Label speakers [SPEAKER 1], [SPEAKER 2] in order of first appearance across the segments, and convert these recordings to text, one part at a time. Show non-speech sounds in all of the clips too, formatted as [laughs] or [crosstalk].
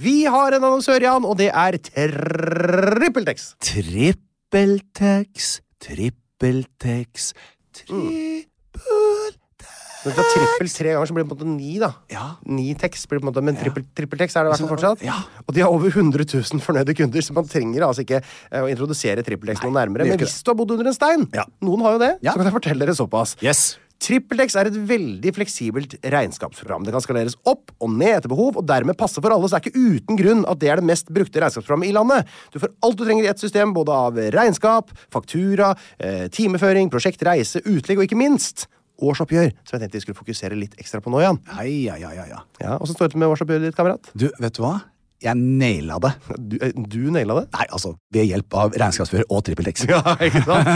[SPEAKER 1] Vi har en annonsør, Jan, og det er TrippelTex.
[SPEAKER 2] Trippeltex, trippeltex, Mm. trippel...
[SPEAKER 1] Når du tar trippel tre ganger, så blir det på en måte ni, da.
[SPEAKER 2] Ja. Altså,
[SPEAKER 1] Ni tekst blir det på en måte, men trippel, trippeltex er det i hvert fall fortsatt.
[SPEAKER 2] Ja.
[SPEAKER 1] Og de har over 100 000 fornøyde kunder, så man trenger altså ikke eh, å introdusere trippeltex noe nærmere.
[SPEAKER 2] det gjør
[SPEAKER 1] Men
[SPEAKER 2] ikke
[SPEAKER 1] hvis du har bodd under en stein,
[SPEAKER 2] Ja.
[SPEAKER 1] noen har jo det,
[SPEAKER 2] Ja.
[SPEAKER 1] så kan jeg fortelle dere såpass.
[SPEAKER 2] Yes.
[SPEAKER 1] TrippelTex er et veldig fleksibelt regnskapsprogram. Det kan skaleres opp og ned etter behov, og dermed passe for alle, så det er ikke uten grunn at det er det mest brukte regnskapsprogrammet i landet. Du får alt du trenger i ett system, både av regnskap, faktura, eh, timeføring, prosjekt, reise, utlegg og ikke minst årsoppgjør, som jeg tenkte vi skulle fokusere litt ekstra på nå, Jan.
[SPEAKER 2] Ai, ai, ai, ai, ai.
[SPEAKER 1] Ja, Åssen står det til med årsoppgjøret ditt, kamerat?
[SPEAKER 2] Du, vet du hva? Jeg naila det.
[SPEAKER 1] Du, eh, du naila det.
[SPEAKER 2] Nei, altså, ved hjelp av regnskapsfører og trippeltex.
[SPEAKER 1] [laughs] Ja, ikke sant?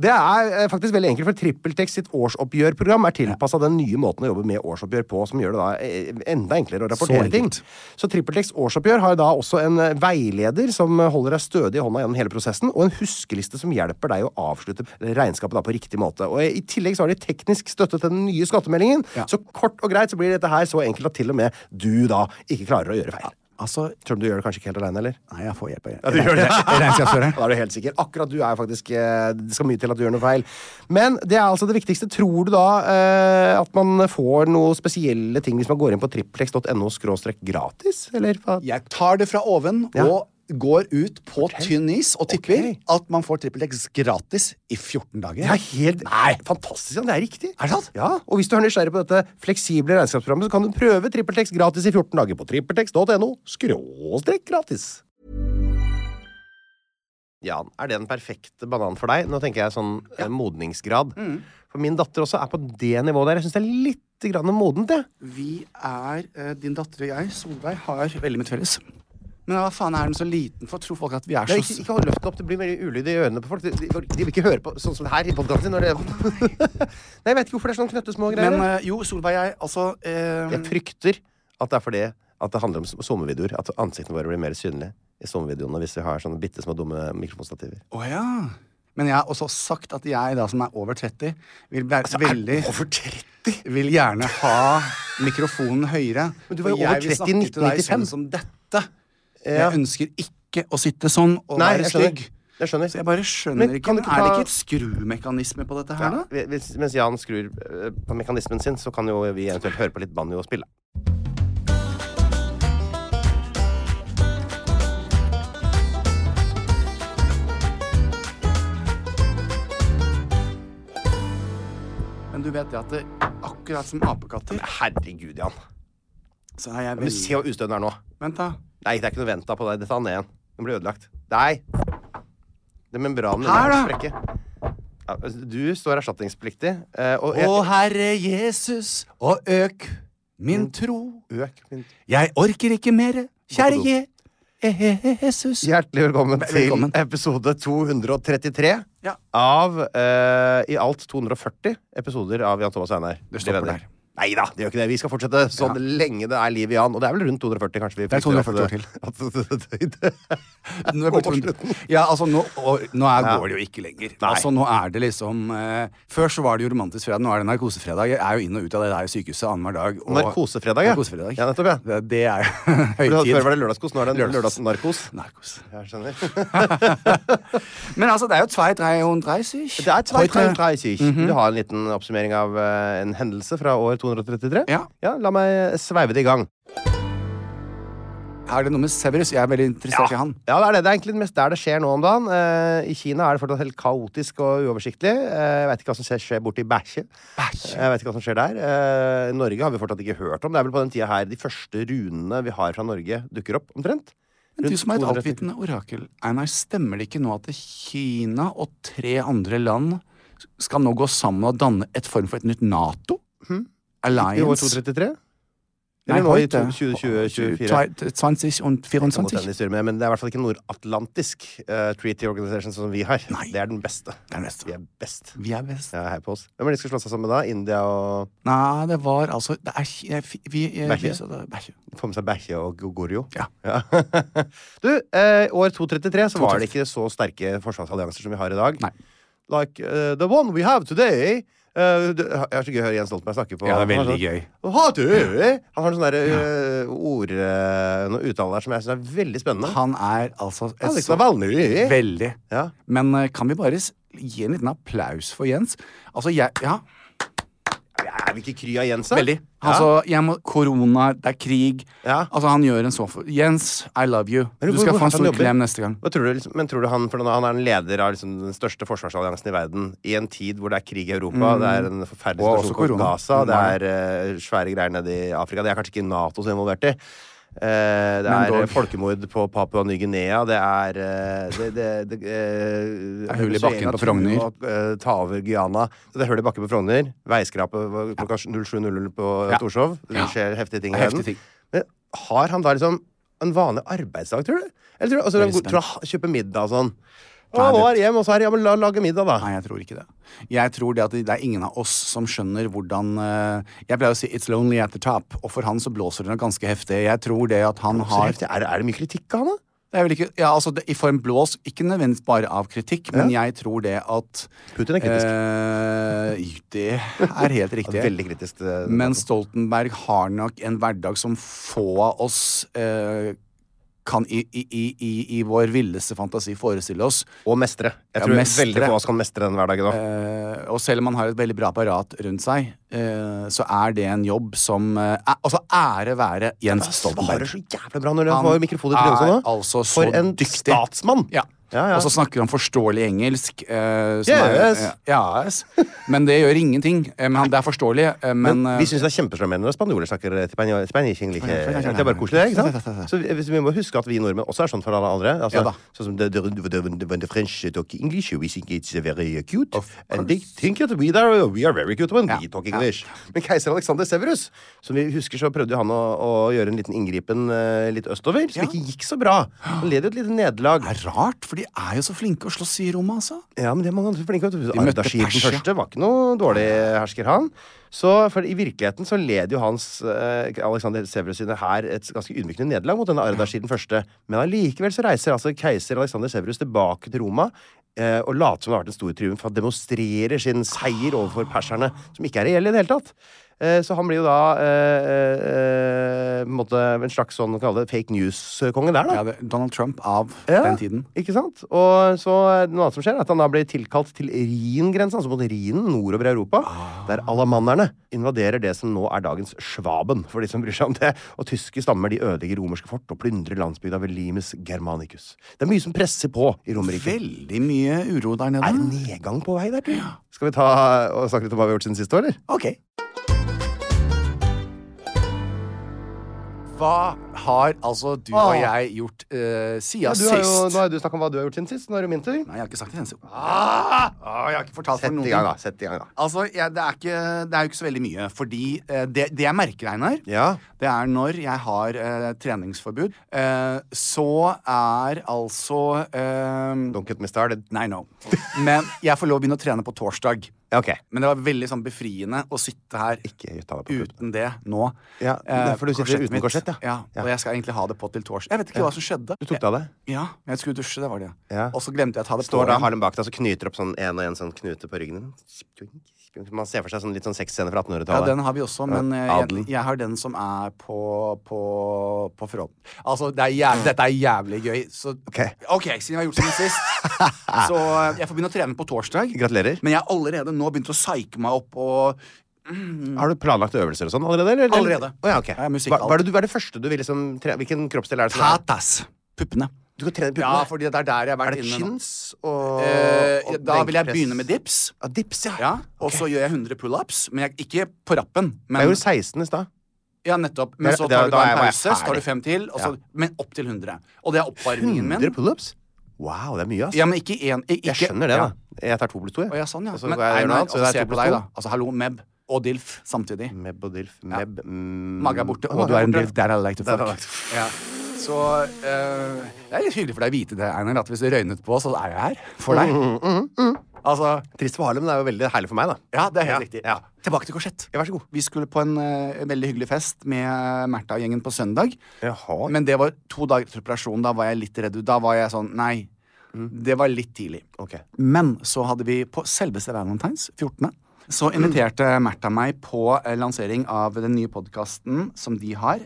[SPEAKER 1] Det er eh, faktisk veldig enkelt, for TrippelTex sitt årsoppgjørprogram er tilpassa den nye måten å jobbe med årsoppgjør på, som gjør det da eh, enda enklere å rapportere
[SPEAKER 2] Så
[SPEAKER 1] ting.
[SPEAKER 2] enkelt.
[SPEAKER 1] Så TrippelTex årsoppgjør har da også en eh, veileder som eh, holder deg stødig i hånda gjennom hele prosessen, og en huskeliste som hjelper deg å avslutte regnskapet da på riktig måte. Og eh, I tillegg så har de teknisk støtte til den nye skattemeldingen,
[SPEAKER 2] Ja.
[SPEAKER 1] så kort og greit så blir dette her så enkelt at til og med du da ikke klarer å gjøre feil.
[SPEAKER 2] Altså,
[SPEAKER 1] Selv om du gjør det kanskje ikke helt aleine, eller?
[SPEAKER 2] nei, jeg får hjelp av
[SPEAKER 1] du gjør det.
[SPEAKER 2] [laughs] regnskapsføreren.
[SPEAKER 1] Da er du helt sikker. Akkurat du er faktisk eh, Det skal mye til at du gjør noe feil. Men det er altså det viktigste. Tror du da eh, at man får noe spesielle ting hvis man går inn på triplex.no skråstrek gratis? Eller hva?
[SPEAKER 2] Jeg tar det fra oven
[SPEAKER 1] Ja.
[SPEAKER 2] og går ut på tynn is og tipper
[SPEAKER 1] Ok.
[SPEAKER 2] at man får TrippelTex gratis i 14 dager.
[SPEAKER 1] Det er helt Nei, fantastisk! Jan, Det er riktig.
[SPEAKER 2] Er det sant?
[SPEAKER 1] Ja, og Hvis du er nysgjerrig på dette fleksible regnskapsprogrammet, så kan du prøve TrippelTex gratis i 14 dager på trippeltex.no skråstrek gratis. Jan, er det den perfekte banan for deg? Nå tenker jeg sånn eh, modningsgrad. For min datter også er på det nivået der. Jeg syns det er litt grann modent, jeg.
[SPEAKER 3] Vi er eh, Din datter og jeg, Solveig, har veldig mye felles. Men hva faen er de så liten for? Tror folk at vi er
[SPEAKER 1] Ja,
[SPEAKER 3] så
[SPEAKER 1] ikke, ikke hold løftet opp, det blir veldig ulyd i ørene på folk. De, de, de vil ikke høre på sånn som det her i podkasten sin. Når det... [laughs] Nei, jeg vet ikke hvorfor det er sånn knøttesmå greier.
[SPEAKER 3] Men eh, jo, Solveig og jeg, altså eh,
[SPEAKER 1] Jeg frykter at det er fordi at det handler om som- sommervideoer. At ansiktene våre blir mer synlige i sommervideoene hvis vi har sånne bitte små dumme mikrofonstativer.
[SPEAKER 3] Å ja. Men jeg har også sagt at jeg, da som er over 30, vil være veldig
[SPEAKER 1] Altså, Over 30?
[SPEAKER 3] Vil gjerne ha mikrofonen høyere.
[SPEAKER 1] Men du var jo
[SPEAKER 3] For jeg
[SPEAKER 1] over 30
[SPEAKER 3] vil
[SPEAKER 1] i
[SPEAKER 3] snakke til deg
[SPEAKER 1] 1995.
[SPEAKER 3] Sånn som dette.
[SPEAKER 1] Ja.
[SPEAKER 3] Jeg ønsker ikke å sitte sånn og
[SPEAKER 1] Nei,
[SPEAKER 3] være
[SPEAKER 1] jeg
[SPEAKER 3] stygg.
[SPEAKER 1] skjønner. Jeg skjønner.
[SPEAKER 3] Så jeg bare skjønner
[SPEAKER 1] Men
[SPEAKER 3] ikke.
[SPEAKER 1] kan du
[SPEAKER 3] Men
[SPEAKER 1] ikke
[SPEAKER 3] er det
[SPEAKER 1] ta-
[SPEAKER 3] ikke et skrumekanisme på dette her, da?
[SPEAKER 1] Ja, hvis, mens Jan skrur eh, på mekanismen sin, så kan jo vi eventuelt høre på litt banjo og spille.
[SPEAKER 3] Men du vet det at det, akkurat som apekatter,
[SPEAKER 1] Herregud, Jan.
[SPEAKER 3] så er jeg
[SPEAKER 1] Men se
[SPEAKER 3] veldig
[SPEAKER 1] hvor ustø den er nå.
[SPEAKER 3] Vent, da.
[SPEAKER 1] Nei, det er ikke noe venta på deg. Dette er ned igjen. Den blir ødelagt. Nei! Det membranen
[SPEAKER 3] Her, da?
[SPEAKER 1] sprekke. Ja, altså, du står erstatningspliktig, eh, og jeg
[SPEAKER 2] Å Herre Jesus, og øk min
[SPEAKER 3] Mm.
[SPEAKER 2] tro.
[SPEAKER 1] Øk min
[SPEAKER 2] Jeg orker ikke mere, kjære
[SPEAKER 1] do.
[SPEAKER 2] Je- eh, Jesus.
[SPEAKER 1] Hjertelig velkommen til
[SPEAKER 3] velkommen.
[SPEAKER 1] episode 233
[SPEAKER 3] Ja.
[SPEAKER 1] av eh, i alt 240 episoder av Jan Thomas og Einar.
[SPEAKER 3] Det stopper der.
[SPEAKER 1] Nei da, det gjør ikke det. Vi skal fortsette så lenge det er liv i Jan. Og det er vel rundt 240, kanskje? Vi
[SPEAKER 3] Det er 240 år til. Nå er jeg
[SPEAKER 1] Gå
[SPEAKER 3] borte
[SPEAKER 1] på
[SPEAKER 3] fra den. Ja, altså, nå, og, nå er,
[SPEAKER 1] Ja.
[SPEAKER 3] går det jo ikke lenger. Altså, nå er det liksom eh, Før så var det jo romantisk fredag, nå er det narkosefredag. Jeg er jo inn og ut av det der sykehuset annenhver dag. Og,
[SPEAKER 1] Narkosefredag, ja.
[SPEAKER 3] Narkosefredag.
[SPEAKER 1] Ja, nettopp, ja.
[SPEAKER 3] Det, det er [laughs] jo høytid.
[SPEAKER 1] Før var det lørdagskos, nå er det
[SPEAKER 3] Lørdags-
[SPEAKER 1] lørdagsnarkos.
[SPEAKER 3] Narkos.
[SPEAKER 1] Jeg skjønner.
[SPEAKER 3] [laughs] Men altså, det er jo 233.
[SPEAKER 1] Det er 233.
[SPEAKER 3] Mhm.
[SPEAKER 1] Vil du ha en liten oppsummering av eh, en hendelse fra år 233?
[SPEAKER 3] Ja.
[SPEAKER 1] ja la meg sveive det i gang.
[SPEAKER 3] Er det noe med Severus? Jeg er veldig interessert i han.
[SPEAKER 1] Ja, det er det. Det er egentlig mest der det skjer nå om dagen. Eh, I Kina er det fortsatt helt kaotisk og uoversiktlig. Eh, jeg vet ikke hva som skjer, skjer borti Bæsje. Jeg vet ikke hva som skjer der. Eh, Norge har vi fortsatt ikke hørt om. Det er vel på den tida her de første runene vi har fra Norge, dukker opp, omtrent.
[SPEAKER 3] Men du
[SPEAKER 1] Rundt
[SPEAKER 3] som er et
[SPEAKER 1] 230.
[SPEAKER 3] altvitende orakel, Einar, stemmer det ikke nå at Kina og tre andre land skal nå gå sammen og danne et form for et nytt Nato?
[SPEAKER 1] Hm? I år
[SPEAKER 3] Alliance
[SPEAKER 1] 233?
[SPEAKER 3] Nei,
[SPEAKER 1] Eller nå i
[SPEAKER 3] heute.
[SPEAKER 1] 2024?
[SPEAKER 3] 20 und
[SPEAKER 1] Jeg kan godt
[SPEAKER 3] 24.
[SPEAKER 1] hende de styrer med, men det er i hvert fall ikke nordatlantisk uh, treaty organization som vi har.
[SPEAKER 3] Nei.
[SPEAKER 1] Det er den beste.
[SPEAKER 3] Det er neste.
[SPEAKER 1] Vi er best.
[SPEAKER 3] Vi er best.
[SPEAKER 1] Ja, hei på oss. Hvem er det de skal slå seg sammen med da? India og
[SPEAKER 3] Nei, det var altså det er, ikke- jeg, fi- vi, jeg,
[SPEAKER 1] Bæsje?
[SPEAKER 3] vi- så det- bæsje.
[SPEAKER 1] Få med seg Bækje og Gogorio?
[SPEAKER 3] Ja.
[SPEAKER 1] [laughs] du, eh, år 233 så var det ikke så sterke forsvarsallianser som vi har i dag.
[SPEAKER 3] Nei.
[SPEAKER 1] Like eh, the one we have today eh, det det er så gøy å høre Jens Stoltenberg snakke på
[SPEAKER 3] Ja,
[SPEAKER 1] han
[SPEAKER 3] det er
[SPEAKER 1] har
[SPEAKER 3] veldig
[SPEAKER 1] sånn-
[SPEAKER 3] gøy.
[SPEAKER 1] Ha det! Han har noen sånne der, eh, ord eh, Noen uttaler der som jeg syns er veldig spennende.
[SPEAKER 3] Han er altså et
[SPEAKER 1] Alex
[SPEAKER 3] så-
[SPEAKER 1] Navalny.
[SPEAKER 3] Veldig.
[SPEAKER 1] Ja.
[SPEAKER 3] Men eh, kan vi bare s- gi en liten applaus for Jens? Altså, jeg Ja,
[SPEAKER 1] Er vi ikke kry av Jens, da?
[SPEAKER 3] veldig.
[SPEAKER 1] Ja.
[SPEAKER 3] [laughs] Altså, jeg må Korona, det er krig.
[SPEAKER 1] Ja.
[SPEAKER 3] Altså, han gjør en så for Jens, I love you.
[SPEAKER 1] Men
[SPEAKER 3] Du
[SPEAKER 1] hvor-
[SPEAKER 3] skal
[SPEAKER 1] hvor
[SPEAKER 3] få en
[SPEAKER 1] hardt han
[SPEAKER 3] stor
[SPEAKER 1] jobber?
[SPEAKER 3] klem neste gang.
[SPEAKER 1] Hva tror du, liksom, men tror du han, for han er en leder av liksom, den største forsvarsalliansen i verden i en tid hvor det er krig i Europa, det er en forferdelig
[SPEAKER 3] Mm. Og også
[SPEAKER 1] situasjon på
[SPEAKER 3] korona.
[SPEAKER 1] Gaza, det
[SPEAKER 3] Mange.
[SPEAKER 1] er eh, svære greier nede i Afrika Det er kanskje ikke Nato som er involvert i. Eh, det
[SPEAKER 3] Men
[SPEAKER 1] er
[SPEAKER 3] dog.
[SPEAKER 1] eh, folkemord på Papua Ny-Guinea. Det er eh, det, det, det, eh,
[SPEAKER 3] er hull i bakken
[SPEAKER 1] Venezuela
[SPEAKER 3] på Frogner.
[SPEAKER 1] truer å, eh, Ta over Guyana. Det er hull i bakken på Frogner. Veiskrape var klokka 07.00 på
[SPEAKER 3] Ja.
[SPEAKER 1] Torshov. Det
[SPEAKER 3] Ja.
[SPEAKER 1] skjer heftige ting i
[SPEAKER 3] Heftige
[SPEAKER 1] verden.
[SPEAKER 3] ting.
[SPEAKER 1] Men har han da liksom en vanlig arbeidsdag, tror du? Eller tror du, altså,
[SPEAKER 3] Veldig
[SPEAKER 1] han,
[SPEAKER 3] spent.
[SPEAKER 1] tror du han kjøper middag og sånn? Å,
[SPEAKER 3] Nei,
[SPEAKER 1] nå
[SPEAKER 3] det-
[SPEAKER 1] er jeg hjemme, og så er jeg, ja, men la lage middag, da.
[SPEAKER 3] Nei, jeg tror ikke det. Jeg tror det at det er ingen av oss som skjønner hvordan eh, Jeg pleier å si 'it's lonely at the top', og for han så blåser det nok ganske heftig. Jeg tror det at han
[SPEAKER 1] Så
[SPEAKER 3] har
[SPEAKER 1] heftig. Er, det- er det mye kritikk av han, da?
[SPEAKER 3] Det er vel ikke, ja, altså det, I form blås, ikke nødvendigvis bare av kritikk, men jeg tror det at
[SPEAKER 1] Putin er kritisk.
[SPEAKER 3] Eh, det er
[SPEAKER 1] [laughs] Han er
[SPEAKER 3] helt riktig.
[SPEAKER 1] Veldig kritisk. eh, til det.
[SPEAKER 3] Men Stoltenberg har nok en hverdag som få av oss eh, kan i, i, i, i, i vår villeste fantasi forestille oss.
[SPEAKER 1] og mestre. Jeg
[SPEAKER 3] Ja,
[SPEAKER 1] tror
[SPEAKER 3] mestre.
[SPEAKER 1] veldig få av oss kan mestre den hverdagen òg.
[SPEAKER 3] Eh, og selv om han har et veldig bra apparat rundt seg, eh, så er det en jobb som eh, er, Altså ære være Jens
[SPEAKER 1] Svarer
[SPEAKER 3] Stoltenberg.
[SPEAKER 1] så jævlig bra når han får mikrofonen i trynet
[SPEAKER 3] er
[SPEAKER 1] sånn. da.
[SPEAKER 3] altså så
[SPEAKER 1] For en
[SPEAKER 3] dyktig.
[SPEAKER 1] statsmann!
[SPEAKER 3] Ja.
[SPEAKER 1] Ja, ja.
[SPEAKER 3] Og så snakker han forståelig engelsk. eh, som er-
[SPEAKER 1] Yes.
[SPEAKER 3] ja, yes. Men det gjør ingenting. Eh, Men han- det er forståelig. eh, Men,
[SPEAKER 1] Men
[SPEAKER 3] eh,
[SPEAKER 1] vi syns det er kjempesjarmerende når spanjoler snakker spanj- spanish English. Det er bare koselig, ikke
[SPEAKER 3] [laughs]
[SPEAKER 1] sant? Så vi, vi må huske at vi nordmenn også er sånn for alle andre. Altså,
[SPEAKER 3] Ja da.
[SPEAKER 1] sånn som the, the, the, when the French talk English, we think it's very cute.
[SPEAKER 3] Of
[SPEAKER 1] And they think that we are, we are very cute when
[SPEAKER 3] Ja,
[SPEAKER 1] we talk
[SPEAKER 3] ja.
[SPEAKER 1] English. Men keiser Alexander Severus, som vi husker, så prøvde jo han å, å gjøre en liten inngripen eh, litt østover, som
[SPEAKER 3] Ja.
[SPEAKER 1] ikke gikk så bra. Han led jo et lite nederlag.
[SPEAKER 3] eh, det er rart, for de er jo så flinke å slåss i Roma, altså.
[SPEAKER 1] Ja, men det er mange andre flinke. vet du.
[SPEAKER 3] møtte
[SPEAKER 1] Ardashir den
[SPEAKER 3] Persia.
[SPEAKER 1] første var ikke noe dårlig hersker, han. Så for i virkeligheten så led jo hans eh, Alexander Severus sine her et ganske ydmykende nederlag mot denne Ardashir den første. Men allikevel så reiser altså keiser Alexander Severus tilbake til Roma eh, og later som det har vært en stor triumf. Han demonstrerer sin seier overfor perserne, som ikke er reell i det hele tatt. Eh, Så han blir jo da eh, eh, eh, på en måte en slags sånn, hva kaller det, fake news-konge der, da.
[SPEAKER 3] Ja, det, Donald Trump av
[SPEAKER 1] Ja,
[SPEAKER 3] den tiden.
[SPEAKER 1] Ikke sant? Og så eh, noe annet som skjer, er at han da blir tilkalt til Rhin-grensa, altså mot Rhinen nordover i Europa,
[SPEAKER 3] Ah.
[SPEAKER 1] der alamannerne invaderer det som nå er dagens Schwaben, for de som bryr seg om det. Og tyske stammer de ødelegger romerske fort og plyndrer landsbygda ved Limes Germanicus. Det er mye som presser på i Romerike.
[SPEAKER 3] Veldig mye uro der
[SPEAKER 1] Er det
[SPEAKER 3] nede.
[SPEAKER 1] nedgang på vei der, tror jeg? Skal vi ta og snakke litt om hva vi har gjort siden sist år, eller?
[SPEAKER 3] Ok. Hva har altså du og jeg gjort eh,
[SPEAKER 1] Ah.
[SPEAKER 3] siden
[SPEAKER 1] Ja, du har jo,
[SPEAKER 3] sist?
[SPEAKER 1] nå har du snakket om hva du har gjort siden sist. Nå er det min tur.
[SPEAKER 3] Nei, jeg har ikke sagt det eneste ah! ah, Jeg har ikke fortalt for
[SPEAKER 1] Sett
[SPEAKER 3] noen.
[SPEAKER 1] i gang, da. Sett i gang, da.
[SPEAKER 3] Altså, jeg, det, er ikke, det er jo ikke så veldig mye. Fordi eh, det, det jeg merker, Einar,
[SPEAKER 1] Ja.
[SPEAKER 3] det er når jeg har eh, treningsforbud, eh, så er altså eh,
[SPEAKER 1] Don't get me started.
[SPEAKER 3] Nei, no. Men jeg får lov å begynne å trene på torsdag.
[SPEAKER 1] Ja, OK.
[SPEAKER 3] Men det var veldig sånn befriende å sitte her
[SPEAKER 1] Ikke ta deg på puppen.
[SPEAKER 3] uten det nå.
[SPEAKER 1] Ja,
[SPEAKER 3] Eh,
[SPEAKER 1] for du sitter
[SPEAKER 3] korsettet
[SPEAKER 1] uten
[SPEAKER 3] mitt.
[SPEAKER 1] korsett, ja. Ja.
[SPEAKER 3] Og jeg skal egentlig ha det på til torsdag. Jeg vet ikke hva som skjedde.
[SPEAKER 1] Du tok det av deg?
[SPEAKER 3] Ja, men jeg skulle dusje, det var det.
[SPEAKER 1] Ja.
[SPEAKER 3] Og så glemte jeg å ta det på.
[SPEAKER 1] Står da
[SPEAKER 3] igjen.
[SPEAKER 1] Harlem bak deg og knyter opp sånn en og en sånn knute på ryggen. din. Man ser for seg sånn litt sånn sexscene fra
[SPEAKER 3] Ja,
[SPEAKER 1] 1800-tallet.
[SPEAKER 3] den har vi også, men eh,
[SPEAKER 1] Adelen.
[SPEAKER 3] jeg, jeg har den som er på, på, på front. Altså, det er jæv- dette er jævlig gøy. Så,
[SPEAKER 1] Ok.
[SPEAKER 3] ok, siden vi har gjort det
[SPEAKER 1] [laughs]
[SPEAKER 3] siden sist. så eh, jeg får begynne å trene på torsdag.
[SPEAKER 1] Gratulerer.
[SPEAKER 3] Men jeg har allerede nå begynt å psyke meg opp og
[SPEAKER 1] Har du planlagt øvelser og sånn allerede? Eller?
[SPEAKER 3] Allerede.
[SPEAKER 1] Å, ja, ok.
[SPEAKER 3] Ja, musikk,
[SPEAKER 1] hva,
[SPEAKER 3] alt.
[SPEAKER 1] hva, er det, du- hva er det første du vil liksom tre... Hvilken kroppsdel er det som er
[SPEAKER 3] Tatas. Puppene.
[SPEAKER 1] Du skal trene
[SPEAKER 3] Ja,
[SPEAKER 1] puppene?
[SPEAKER 3] fordi det er der jeg har
[SPEAKER 1] er
[SPEAKER 3] vært
[SPEAKER 1] det
[SPEAKER 3] inne nå.
[SPEAKER 1] chins og,
[SPEAKER 3] Eh,
[SPEAKER 1] og
[SPEAKER 3] da vil jeg
[SPEAKER 1] benkpress?
[SPEAKER 3] begynne med dips.
[SPEAKER 1] Ja, dips, ja.
[SPEAKER 3] Ja, Og så gjør jeg 100 pullups. Men jeg, ikke på rappen. Men,
[SPEAKER 1] Jeg gjorde 16 i stad.
[SPEAKER 3] Ja, nettopp.
[SPEAKER 1] Det-
[SPEAKER 3] Men så
[SPEAKER 1] det-
[SPEAKER 3] tar du
[SPEAKER 1] da
[SPEAKER 3] da
[SPEAKER 1] er jeg
[SPEAKER 3] en
[SPEAKER 1] bare
[SPEAKER 3] pause, så tar
[SPEAKER 1] ferdig.
[SPEAKER 3] du fem til, og så,
[SPEAKER 1] Ja.
[SPEAKER 3] men opp til 100. Og det er oppvarmingen min.
[SPEAKER 1] 100 pullups? Wow, det er mye, ass.
[SPEAKER 3] Ja, men ikke én ikke,
[SPEAKER 1] jeg skjønner det,
[SPEAKER 3] ja.
[SPEAKER 1] da. Jeg tar to pluss to, jeg.
[SPEAKER 3] Å, ja, sånn, ja.
[SPEAKER 1] Og så
[SPEAKER 3] Men
[SPEAKER 1] går jeg og gjør
[SPEAKER 3] Einar,
[SPEAKER 1] noe annet, så
[SPEAKER 3] altså,
[SPEAKER 1] det
[SPEAKER 3] se
[SPEAKER 1] er to
[SPEAKER 3] på
[SPEAKER 1] pluss
[SPEAKER 3] deg,
[SPEAKER 1] to.
[SPEAKER 3] da. Altså, hallo, Meb. og DILF samtidig.
[SPEAKER 1] Meb og dilf. Meb. mm.
[SPEAKER 3] Mage er borte,
[SPEAKER 1] Å,
[SPEAKER 3] og
[SPEAKER 1] mage
[SPEAKER 3] du er en
[SPEAKER 1] borte.
[SPEAKER 3] DILF. Der er det like to
[SPEAKER 1] Der er
[SPEAKER 3] fuck.
[SPEAKER 1] det like to
[SPEAKER 3] Ja. Så eh, det er litt hyggelig for deg å vite det, Einar, at hvis det røynet på, så er jeg her for deg.
[SPEAKER 1] Mm,
[SPEAKER 3] Altså
[SPEAKER 1] Trist for Harlem, men det er jo veldig herlig for meg, da.
[SPEAKER 3] Ja, det er helt
[SPEAKER 1] Ja,
[SPEAKER 3] riktig.
[SPEAKER 1] ja.
[SPEAKER 3] Tilbake til korsett.
[SPEAKER 1] Ja, vær så god.
[SPEAKER 3] Vi skulle på en eh, veldig hyggelig fest med Märtha og gjengen på søndag.
[SPEAKER 1] Jaha.
[SPEAKER 3] Men det var to dager til operasjonen. Da var jeg litt redd. Da var jeg sånn Nei.
[SPEAKER 1] Mm.
[SPEAKER 3] Det var litt tidlig.
[SPEAKER 1] Ok.
[SPEAKER 3] Men så hadde vi på selveste Valentines, 14., så
[SPEAKER 1] Mm.
[SPEAKER 3] inviterte Märtha meg på eh, lansering av den nye podkasten som de har.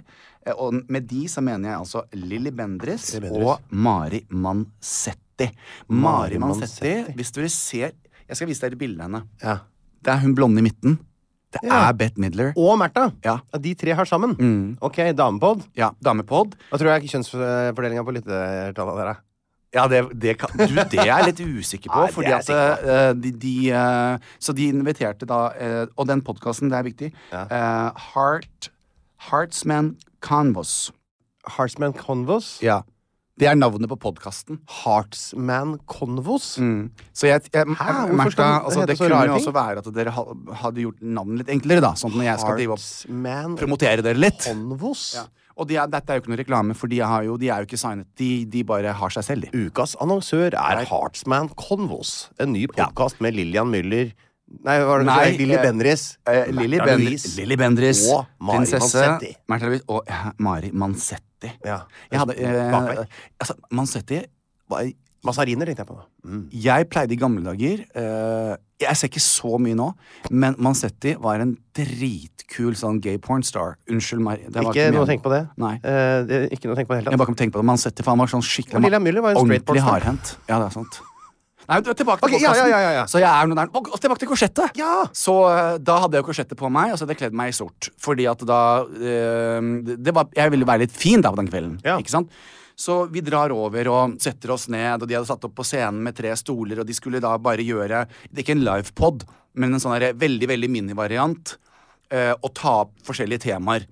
[SPEAKER 3] Eh, Og med de så mener jeg altså Lilly Bendriss
[SPEAKER 1] Lilly Bendriss.
[SPEAKER 3] og Mari Mansetti. Mari
[SPEAKER 1] Mari
[SPEAKER 3] Mansetti,
[SPEAKER 1] Mansetti.
[SPEAKER 3] hvis dere ser Jeg skal vise dere bildet av henne.
[SPEAKER 1] Ja.
[SPEAKER 3] Det er hun blonde i midten. Det
[SPEAKER 1] Ja.
[SPEAKER 3] er Bette Midler.
[SPEAKER 1] Og Märtha.
[SPEAKER 3] Ja. Mm.
[SPEAKER 1] De tre har sammen. Ok, damepod.
[SPEAKER 3] Ja, damepod.
[SPEAKER 1] Hva tror jeg kjønnsfordelinga på lyttertallet der, da?
[SPEAKER 3] Ja, det, det kan Du, det er jeg litt usikker på,
[SPEAKER 1] Nei, det
[SPEAKER 3] fordi
[SPEAKER 1] er jeg
[SPEAKER 3] at eh, de, de eh, Så de inviterte da eh, Og den podkasten, det er viktig. eh, Heart Heartsman Canvas.
[SPEAKER 1] Heartsman Convos.
[SPEAKER 3] Ja. Det er navnet på podkasten.
[SPEAKER 1] Heartsman Convos?
[SPEAKER 3] Mm. Så jeg, jeg
[SPEAKER 1] Hvorfor skal
[SPEAKER 3] Märtha,
[SPEAKER 1] det
[SPEAKER 3] altså,
[SPEAKER 1] hete
[SPEAKER 3] det
[SPEAKER 1] så
[SPEAKER 3] kunne
[SPEAKER 1] rare
[SPEAKER 3] jo
[SPEAKER 1] ting?
[SPEAKER 3] også være at dere ha, hadde gjort navnet litt enklere, da. Sånn at når jeg skal drive opp
[SPEAKER 1] Heartsman
[SPEAKER 3] promotere dere litt.
[SPEAKER 1] Convos?
[SPEAKER 3] Ja. Og de er, dette er jo ikke noe reklame, for de, har jo, de er jo ikke signet. De, de bare har seg selv, de.
[SPEAKER 1] Ukas annonsør er Heartsman Convos. En ny podkast med Lillian Müller Nei, hva var det
[SPEAKER 3] Nei,
[SPEAKER 1] Nei, Lilly
[SPEAKER 3] eh,
[SPEAKER 1] Bendriss.
[SPEAKER 3] Eh, Lilly
[SPEAKER 1] Märtha
[SPEAKER 3] Bendriss,
[SPEAKER 1] Louise.
[SPEAKER 3] Lilly Bendris
[SPEAKER 1] Og Mari Mansetti.
[SPEAKER 3] Märtha Louise og eh, Mari Mansetti.
[SPEAKER 1] Ja.
[SPEAKER 3] Jeg hadde eh,
[SPEAKER 1] Bakvei.
[SPEAKER 3] altså, Mansetti var,
[SPEAKER 1] Mazariner, tenkte jeg på. nå. Mm.
[SPEAKER 3] Jeg pleide i gamle dager eh, Jeg ser ikke så mye nå, men Mansetti var en dritkul sånn gay pornstar. Unnskyld meg. det var
[SPEAKER 1] Ikke noe å
[SPEAKER 3] meningen.
[SPEAKER 1] tenke på det.
[SPEAKER 3] Nei.
[SPEAKER 1] Eh, det er ikke noe å tenke på det
[SPEAKER 3] Jeg
[SPEAKER 1] hele
[SPEAKER 3] bare
[SPEAKER 1] tatt.
[SPEAKER 3] kom til å tenke på det. Mansetti, for han var sånn skikkelig
[SPEAKER 1] Og Lillian Müller var jo straight
[SPEAKER 3] ordentlig
[SPEAKER 1] pornstar.
[SPEAKER 3] hardhendt. Ja, det er sant. Nei, du er tilbake til
[SPEAKER 1] Ok, ja, ja,
[SPEAKER 3] podcasten.
[SPEAKER 1] ja, ja.
[SPEAKER 3] Så jeg er noe der. Og og tilbake til korsettet!
[SPEAKER 1] Ja!
[SPEAKER 3] Så eh, da hadde jeg jo korsettet på meg, og så hadde jeg kledd meg i sort. Fordi at da eh, det- det var, Jeg ville være litt fin da på den kvelden.
[SPEAKER 1] Ja.
[SPEAKER 3] Ikke sant? Så vi drar over og setter oss ned, og de hadde satt opp på scenen med tre stoler, og de skulle da bare gjøre det er Ikke en livepod, men en sånn her veldig, veldig minivariant. eh, Og ta opp forskjellige temaer.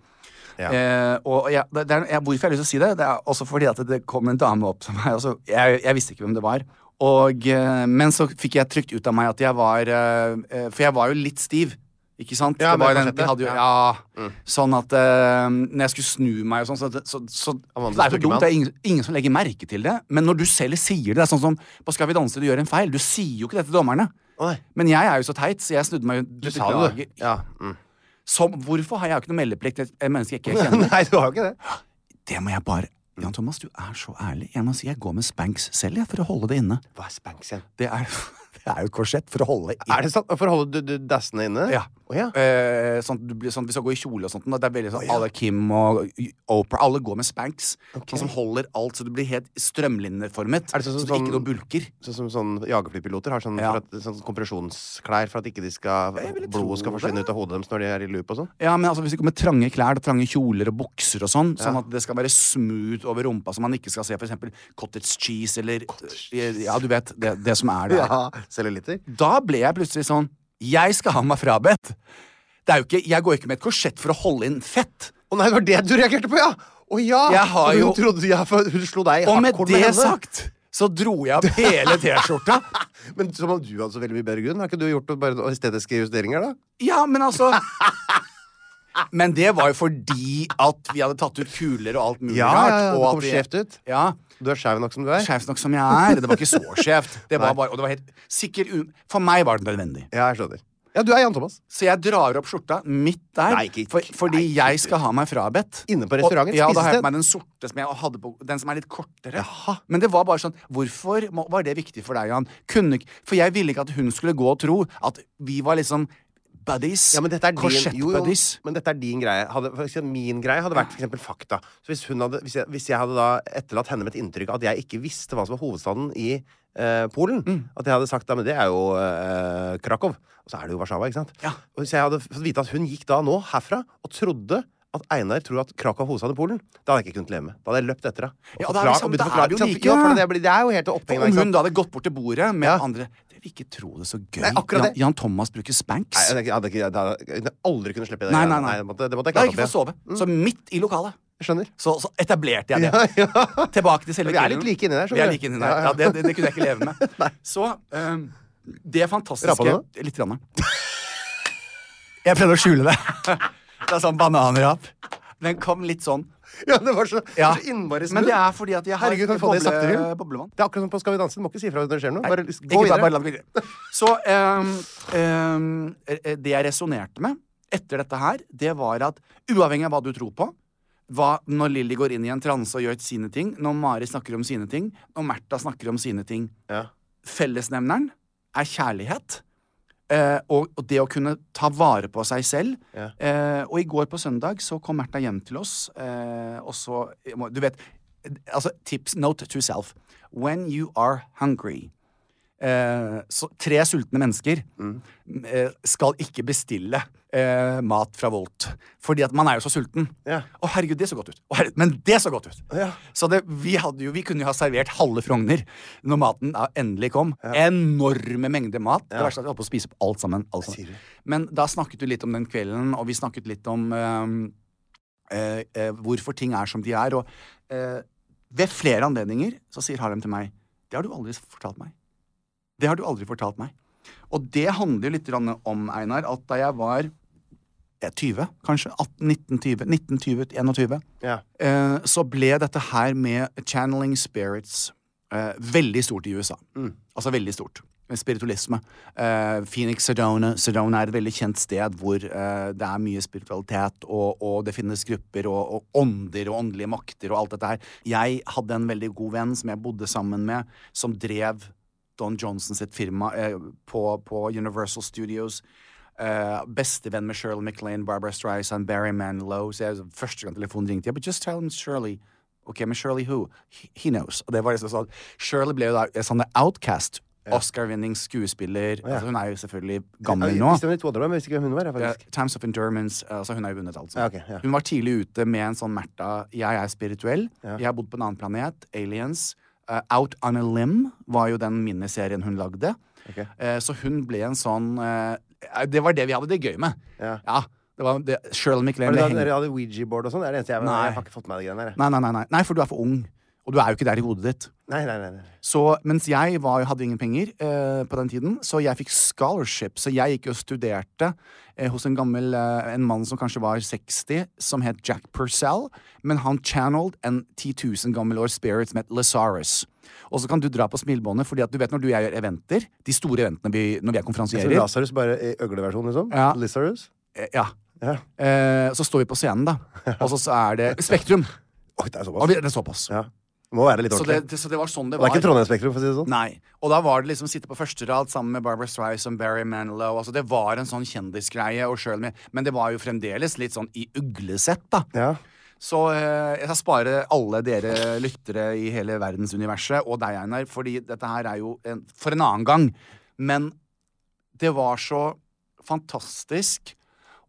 [SPEAKER 3] Eh, og jeg, det det er, jeg, hvorfor jeg har lyst til å si det, det er også fordi at det kom en dame opp til meg. og så- jeg, jeg visste ikke hvem det var. Og, eh, men så fikk jeg trykt ut av meg at jeg var eh, eh, For jeg var jo litt stiv. Ikke sant?
[SPEAKER 1] Ja,
[SPEAKER 3] det
[SPEAKER 1] med
[SPEAKER 3] var jo den, de
[SPEAKER 1] korsettet,
[SPEAKER 3] hadde jo, ja,
[SPEAKER 1] ja. Mm.
[SPEAKER 3] Sånn at eh, når jeg skulle snu meg og sånn, så, så, så,
[SPEAKER 1] Han vant
[SPEAKER 3] Det er
[SPEAKER 1] til
[SPEAKER 3] så
[SPEAKER 1] å trykke
[SPEAKER 3] dumt.
[SPEAKER 1] meg.
[SPEAKER 3] Det er ingen, ingen som legger merke til det. Men når du selv sier det, det er sånn som på Skal vi danse, du gjør en feil. Du sier jo ikke det til dommerne.
[SPEAKER 1] Å, nei.
[SPEAKER 3] Men jeg er jo så teit, så jeg snudde meg jo-
[SPEAKER 1] Du sa det, du.
[SPEAKER 3] Beklager.
[SPEAKER 1] Ja. [laughs] Mm.
[SPEAKER 3] Som, hvorfor har jeg jo ikke noe meldeplikt til et menneske jeg ikke kjenner?
[SPEAKER 1] Nei, du har jo ikke det.
[SPEAKER 3] Det må jeg bare Jan Thomas, du er så ærlig. Jeg må si jeg går med Spanx selv, jeg, for å holde det inne.
[SPEAKER 1] Hva er spanks igjen?
[SPEAKER 3] Det er, [laughs] det er jo et korsett for å holde inn.
[SPEAKER 1] Er det sant? For å holde du- du dassene inne?
[SPEAKER 3] Ja.
[SPEAKER 1] Å, ja.
[SPEAKER 3] Eh, sånn, at du blir, sånn, hvis jeg går i kjole og sånt, da, det er veldig sånn alle Kim og Oprah Alle går med Spanx. Sånn som holder alt, så du blir helt strømlinjeformet.
[SPEAKER 1] Er det sånn
[SPEAKER 3] så
[SPEAKER 1] som
[SPEAKER 3] det ikke
[SPEAKER 1] sånn-
[SPEAKER 3] noe bulker.
[SPEAKER 1] Sånn som sånn jagerflypiloter har sånn,
[SPEAKER 3] Ja.
[SPEAKER 1] for at, sånn kompresjonsklær for at ikke de skal,
[SPEAKER 3] Jeg ville tro
[SPEAKER 1] blodet skal forsvinne
[SPEAKER 3] det.
[SPEAKER 1] ut av hodet deres når de er i loop og sånn.
[SPEAKER 3] Ja, men altså Hvis det kommer trange klær, da, trange kjoler og bukser og sånn, sånn at det skal være smooth over rumpa, så man ikke skal se for eksempel cottage cheese eller Ja, du vet. Det, det som er der.
[SPEAKER 1] Cellulitter.
[SPEAKER 3] Da ble jeg plutselig sånn Jeg skal ha meg frabedt. Det er jo ikke, jeg går ikke med et korsett for å holde inn fett.
[SPEAKER 1] Å nei, det var det du reagerte på, ja! Å ja!
[SPEAKER 3] Jeg har
[SPEAKER 1] Og hun
[SPEAKER 3] jo-
[SPEAKER 1] trodde ja, for hun slo deg i
[SPEAKER 3] Og med
[SPEAKER 1] hardcore
[SPEAKER 3] det
[SPEAKER 1] henne.
[SPEAKER 3] sagt så dro jeg av hele T-skjorta.
[SPEAKER 1] Men som om du hadde så veldig mye bedre grunn. Har ikke du gjort noe- bare noen estetiske justeringer, da?
[SPEAKER 3] Ja, men altså Men det var jo fordi at vi hadde tatt ut kuler og alt mulig
[SPEAKER 1] Ja,
[SPEAKER 3] rart.
[SPEAKER 1] ja, ja, det
[SPEAKER 3] og
[SPEAKER 1] kom
[SPEAKER 3] at vi-
[SPEAKER 1] skjevt ut.
[SPEAKER 3] Ja,
[SPEAKER 1] Du er skeiv nok som du er.
[SPEAKER 3] Skjevt nok som jeg er. Det var ikke så skjevt. Det var bare, og det var helt sikker u- For meg var det nødvendig.
[SPEAKER 1] Ja, jeg skjønner. Ja, du er Jan Thomas.
[SPEAKER 3] Så jeg drar opp skjorta midt der,
[SPEAKER 1] Nei, ikke-
[SPEAKER 3] for, fordi
[SPEAKER 1] nei, ikke-
[SPEAKER 3] jeg skal ha meg frabedt.
[SPEAKER 1] Inne på restauranten,
[SPEAKER 3] Og, ja, da har
[SPEAKER 1] spisested.
[SPEAKER 3] jeg på meg den sorte som jeg hadde på Den som er litt kortere. Men det var bare sånn Hvorfor må, var det viktig for deg, Jan? Kunne, ikke- for jeg ville ikke at hun skulle gå og tro at vi var liksom buddies.
[SPEAKER 1] Ja, men dette er din, jo, jo,
[SPEAKER 3] Korsett-buddies.
[SPEAKER 1] men dette er din greie. Hadde, for eksempel, min greie hadde vært for eksempel fakta. Så hvis, hun hadde, hvis, jeg, hvis jeg hadde da etterlatt henne med et inntrykk av at jeg ikke visste hva som var hovedstaden i eh, Polen
[SPEAKER 3] Mm.
[SPEAKER 1] At jeg hadde sagt da, men det er jo eh, Krakow. Og så er det jo Warszawa, ikke sant?
[SPEAKER 3] Ja.
[SPEAKER 1] Og hvis jeg hadde fått vite at hun gikk da nå herfra og trodde at Einar tror at Krakow er hovedstaden i Polen, da hadde jeg ikke kunnet leve med. Da hadde jeg løpt etter henne.
[SPEAKER 3] Ja, da er det samme- da er det jo like,
[SPEAKER 1] Ja, for
[SPEAKER 3] ja.
[SPEAKER 1] det, blir- det er jo helt
[SPEAKER 3] For
[SPEAKER 1] opphengen,
[SPEAKER 3] om
[SPEAKER 1] ikke
[SPEAKER 3] hun
[SPEAKER 1] sant?
[SPEAKER 3] da hadde gått bort til bordet med
[SPEAKER 1] Ja.
[SPEAKER 3] andre Dere vil ikke tro det så gøy.
[SPEAKER 1] Nei, akkurat
[SPEAKER 3] Jan,
[SPEAKER 1] det.
[SPEAKER 3] Jan Thomas bruker Spanx.
[SPEAKER 1] Nei, jeg hadde ikke- jeg hadde ikke- jeg hadde- jeg hadde aldri kunnet slippe det.
[SPEAKER 3] Nei, nei, nei.
[SPEAKER 1] det måtte, det måtte jeg
[SPEAKER 3] da har
[SPEAKER 1] klare
[SPEAKER 3] jeg ikke fått
[SPEAKER 1] opp
[SPEAKER 3] sove. Så midt i lokalet.
[SPEAKER 1] i. Skjønner.
[SPEAKER 3] Så, så etablerte jeg det.
[SPEAKER 1] Ja, ja.
[SPEAKER 3] Tilbake til selve
[SPEAKER 1] Vi er
[SPEAKER 3] kvelden.
[SPEAKER 1] litt like inni der, skjønner
[SPEAKER 3] Vi er
[SPEAKER 1] du.
[SPEAKER 3] like inni der.
[SPEAKER 1] Ja, ja.
[SPEAKER 3] Ja, det, det, det kunne jeg ikke leve
[SPEAKER 1] [laughs]
[SPEAKER 3] med. så um, det fantastiske
[SPEAKER 1] Rappa du
[SPEAKER 3] Litt. Grann. Jeg prøvde å skjule det. [laughs] Det er sånn bananrap. Den kom litt sånn.
[SPEAKER 1] Ja, det var så,
[SPEAKER 3] Ja.
[SPEAKER 1] så innmari smooth.
[SPEAKER 3] Men det er fordi at jeg har
[SPEAKER 1] Herregud, kan vi få det i sakte film?
[SPEAKER 3] boble- boblevann.
[SPEAKER 1] Det er akkurat som på Skal vi danse. Du må ikke si fra når det skjer noe. Bare
[SPEAKER 3] Nei,
[SPEAKER 1] gå
[SPEAKER 3] ikke
[SPEAKER 1] videre.
[SPEAKER 3] bare- bare la det gå videre. Så ehm, ehm, eh, det jeg resonnerte med etter dette her, det var at uavhengig av hva du tror på hva, Når Lilly går inn i en transe og gjør sine ting, når Mari snakker om sine ting, når Märtha snakker om sine ting
[SPEAKER 1] Ja.
[SPEAKER 3] Fellesnevneren er kjærlighet. eh, og, og det å kunne ta vare på seg selv.
[SPEAKER 1] Ja.
[SPEAKER 3] Eh, og i går på søndag så kom Märtha hjem til oss, eh, og så jeg må- Du vet, altså tips, note to self. When you are hungry eh, så, Tre sultne mennesker
[SPEAKER 1] Mm.
[SPEAKER 3] eh, skal ikke bestille eh, mat fra Volt. Fordi at man er jo så sulten.
[SPEAKER 1] Ja.
[SPEAKER 3] Å, herregud, det så godt ut. Å, herregud, men det så godt ut.
[SPEAKER 1] Ja.
[SPEAKER 3] Så det, vi, hadde jo, vi kunne jo ha servert halve Frogner når maten da endelig kom. Enorme mengder mat. Det verste er at vi holdt på å spise opp alt sammen. Alt
[SPEAKER 1] sier du?
[SPEAKER 3] sammen. Men da snakket du litt om den kvelden, og vi snakket litt om eh, eh, eh, hvorfor ting er som de er. Og eh, ved flere anledninger så sier Harlem til meg Det har du aldri fortalt meg. Det har du aldri fortalt meg. Og det handler jo litt grann om, Einar, at da jeg var eh, 20, kanskje 1920, 1921,
[SPEAKER 1] Ja.
[SPEAKER 3] eh, så ble dette her med channeling spirits eh, veldig stort i USA. Altså veldig stort. Spiritualisme. Eh, Phoenix Sedona. Sedona er et veldig kjent sted hvor eh, det er mye spiritualitet, og, og det finnes grupper og, og ånder og åndelige makter og alt dette her. Jeg hadde en veldig god venn som jeg bodde sammen med, som drev Don Johnson sitt firma eh, på, på Universal Studios. Eh, Bestevenn med Shirley MacLaine, Barbara Streisand, Barry Manilow. Så jeg, første gang telefonen ringte, jeg bare just tell him Shirley. Ok, men Shirley who? He, he knows. Og det var liksom sånn, Shirley ble jo da en sånn outcast. Oscar-vinning skuespiller. Altså, hun er jo selvfølgelig gammel
[SPEAKER 1] Jeg
[SPEAKER 3] nå.
[SPEAKER 1] visste hvem de to andre var, men jeg visste ikke hvem hun var. Jeg,
[SPEAKER 3] Ja,
[SPEAKER 1] faktisk.
[SPEAKER 3] Times of Endurance. Altså hun har jo vunnet alt.
[SPEAKER 1] Ja, ok, ja.
[SPEAKER 3] Hun var tidlig ute med en sånn Märtha 'Jeg er spirituell'. 'Jeg har bodd på en annen planet'. Aliens. Eh, 'Out on a Limb' var jo den miniserien hun lagde. Eh, så hun ble en sånn eh, Det var det vi hadde det gøy med.
[SPEAKER 1] Ja.
[SPEAKER 3] det var det, Shirley MacLaine
[SPEAKER 1] Var det
[SPEAKER 3] ble
[SPEAKER 1] da
[SPEAKER 3] hengt
[SPEAKER 1] dere hadde Ouija-board og sånn? Det er det eneste jeg,
[SPEAKER 3] Nei.
[SPEAKER 1] jeg har ikke fått med meg de greiene der. jeg.
[SPEAKER 3] nei, nei, nei, nei. nei, for du er for ung. Og du er jo ikke der i hodet ditt.
[SPEAKER 1] Nei, nei, nei. nei.
[SPEAKER 3] Så mens jeg var, hadde jo ingen penger eh, på den tiden, så jeg fikk scholarship. Så jeg gikk jo og studerte eh, hos en gammel eh, En mann som kanskje var 60, som het Jack Purcell. Men han channeled en 10 000 gammel år spirit som het Lazarus. Og så kan du dra på smilebåndet, fordi at du vet når du og jeg gjør eventer, de store eventene vi, når vi er
[SPEAKER 1] Som
[SPEAKER 3] konferansierer
[SPEAKER 1] Lazarus, bare i øgleversjon, liksom?
[SPEAKER 3] Ja.
[SPEAKER 1] Lazarus?
[SPEAKER 3] eh, Ja.
[SPEAKER 1] Ja.
[SPEAKER 3] Eh, så står vi på scenen,
[SPEAKER 1] [laughs]
[SPEAKER 3] da. Og så, så er det Spektrum.
[SPEAKER 1] Oi, det er
[SPEAKER 3] Og
[SPEAKER 1] såpass.
[SPEAKER 3] vi, det er såpass.
[SPEAKER 1] Ja. Det må være litt
[SPEAKER 3] Så,
[SPEAKER 1] ordentlig.
[SPEAKER 3] det, det, så det var sånn det
[SPEAKER 1] Og det
[SPEAKER 3] var.
[SPEAKER 1] er ikke Trondheim Spektrum, for å si det sånn.
[SPEAKER 3] Nei. Og da var det liksom sitte på første rad sammen med Barbara Streisand, Barry Manilow. Altså, det var en sånn kjendisgreie. Og Shirley, men det var jo fremdeles litt sånn i uglesett, da.
[SPEAKER 1] Ja.
[SPEAKER 3] Så eh, jeg skal spare alle dere lyttere i hele verdensuniverset, og deg, Einar, fordi dette her er jo en, for en annen gang. Men det var så fantastisk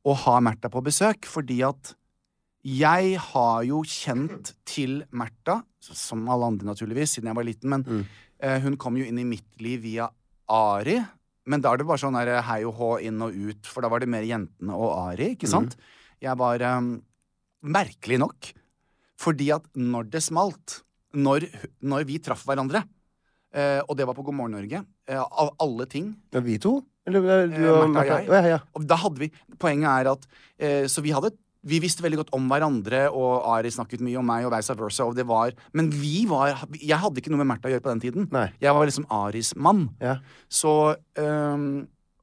[SPEAKER 3] å ha Märtha på besøk, fordi at jeg har jo kjent til Märtha, som alle andre naturligvis, siden jeg var liten, men eh, hun kom jo inn i mitt liv via Ari. Men da er det bare sånn der, hei og hå, inn og ut, for da var det mer jentene og Ari, ikke sant? Jeg var eh, Merkelig nok. Fordi at når det smalt, når, når vi traff hverandre, eh, og det var på God morgen Norge, eh, av alle ting
[SPEAKER 1] Ja, vi to? Eller eh, du
[SPEAKER 3] Eh,
[SPEAKER 1] og
[SPEAKER 3] Martha og
[SPEAKER 1] Martha?
[SPEAKER 3] jeg.
[SPEAKER 1] Ja, ja, ja.
[SPEAKER 3] og da hadde vi, Poenget er at eh, Så vi hadde vi visste veldig godt om hverandre, og Ari snakket mye om meg. og vice versa, og det var, Men vi var, jeg hadde ikke noe med Märtha å gjøre på den tiden.
[SPEAKER 1] Nei.
[SPEAKER 3] Jeg var liksom Aris mann.
[SPEAKER 1] Ja.
[SPEAKER 3] Så ehm,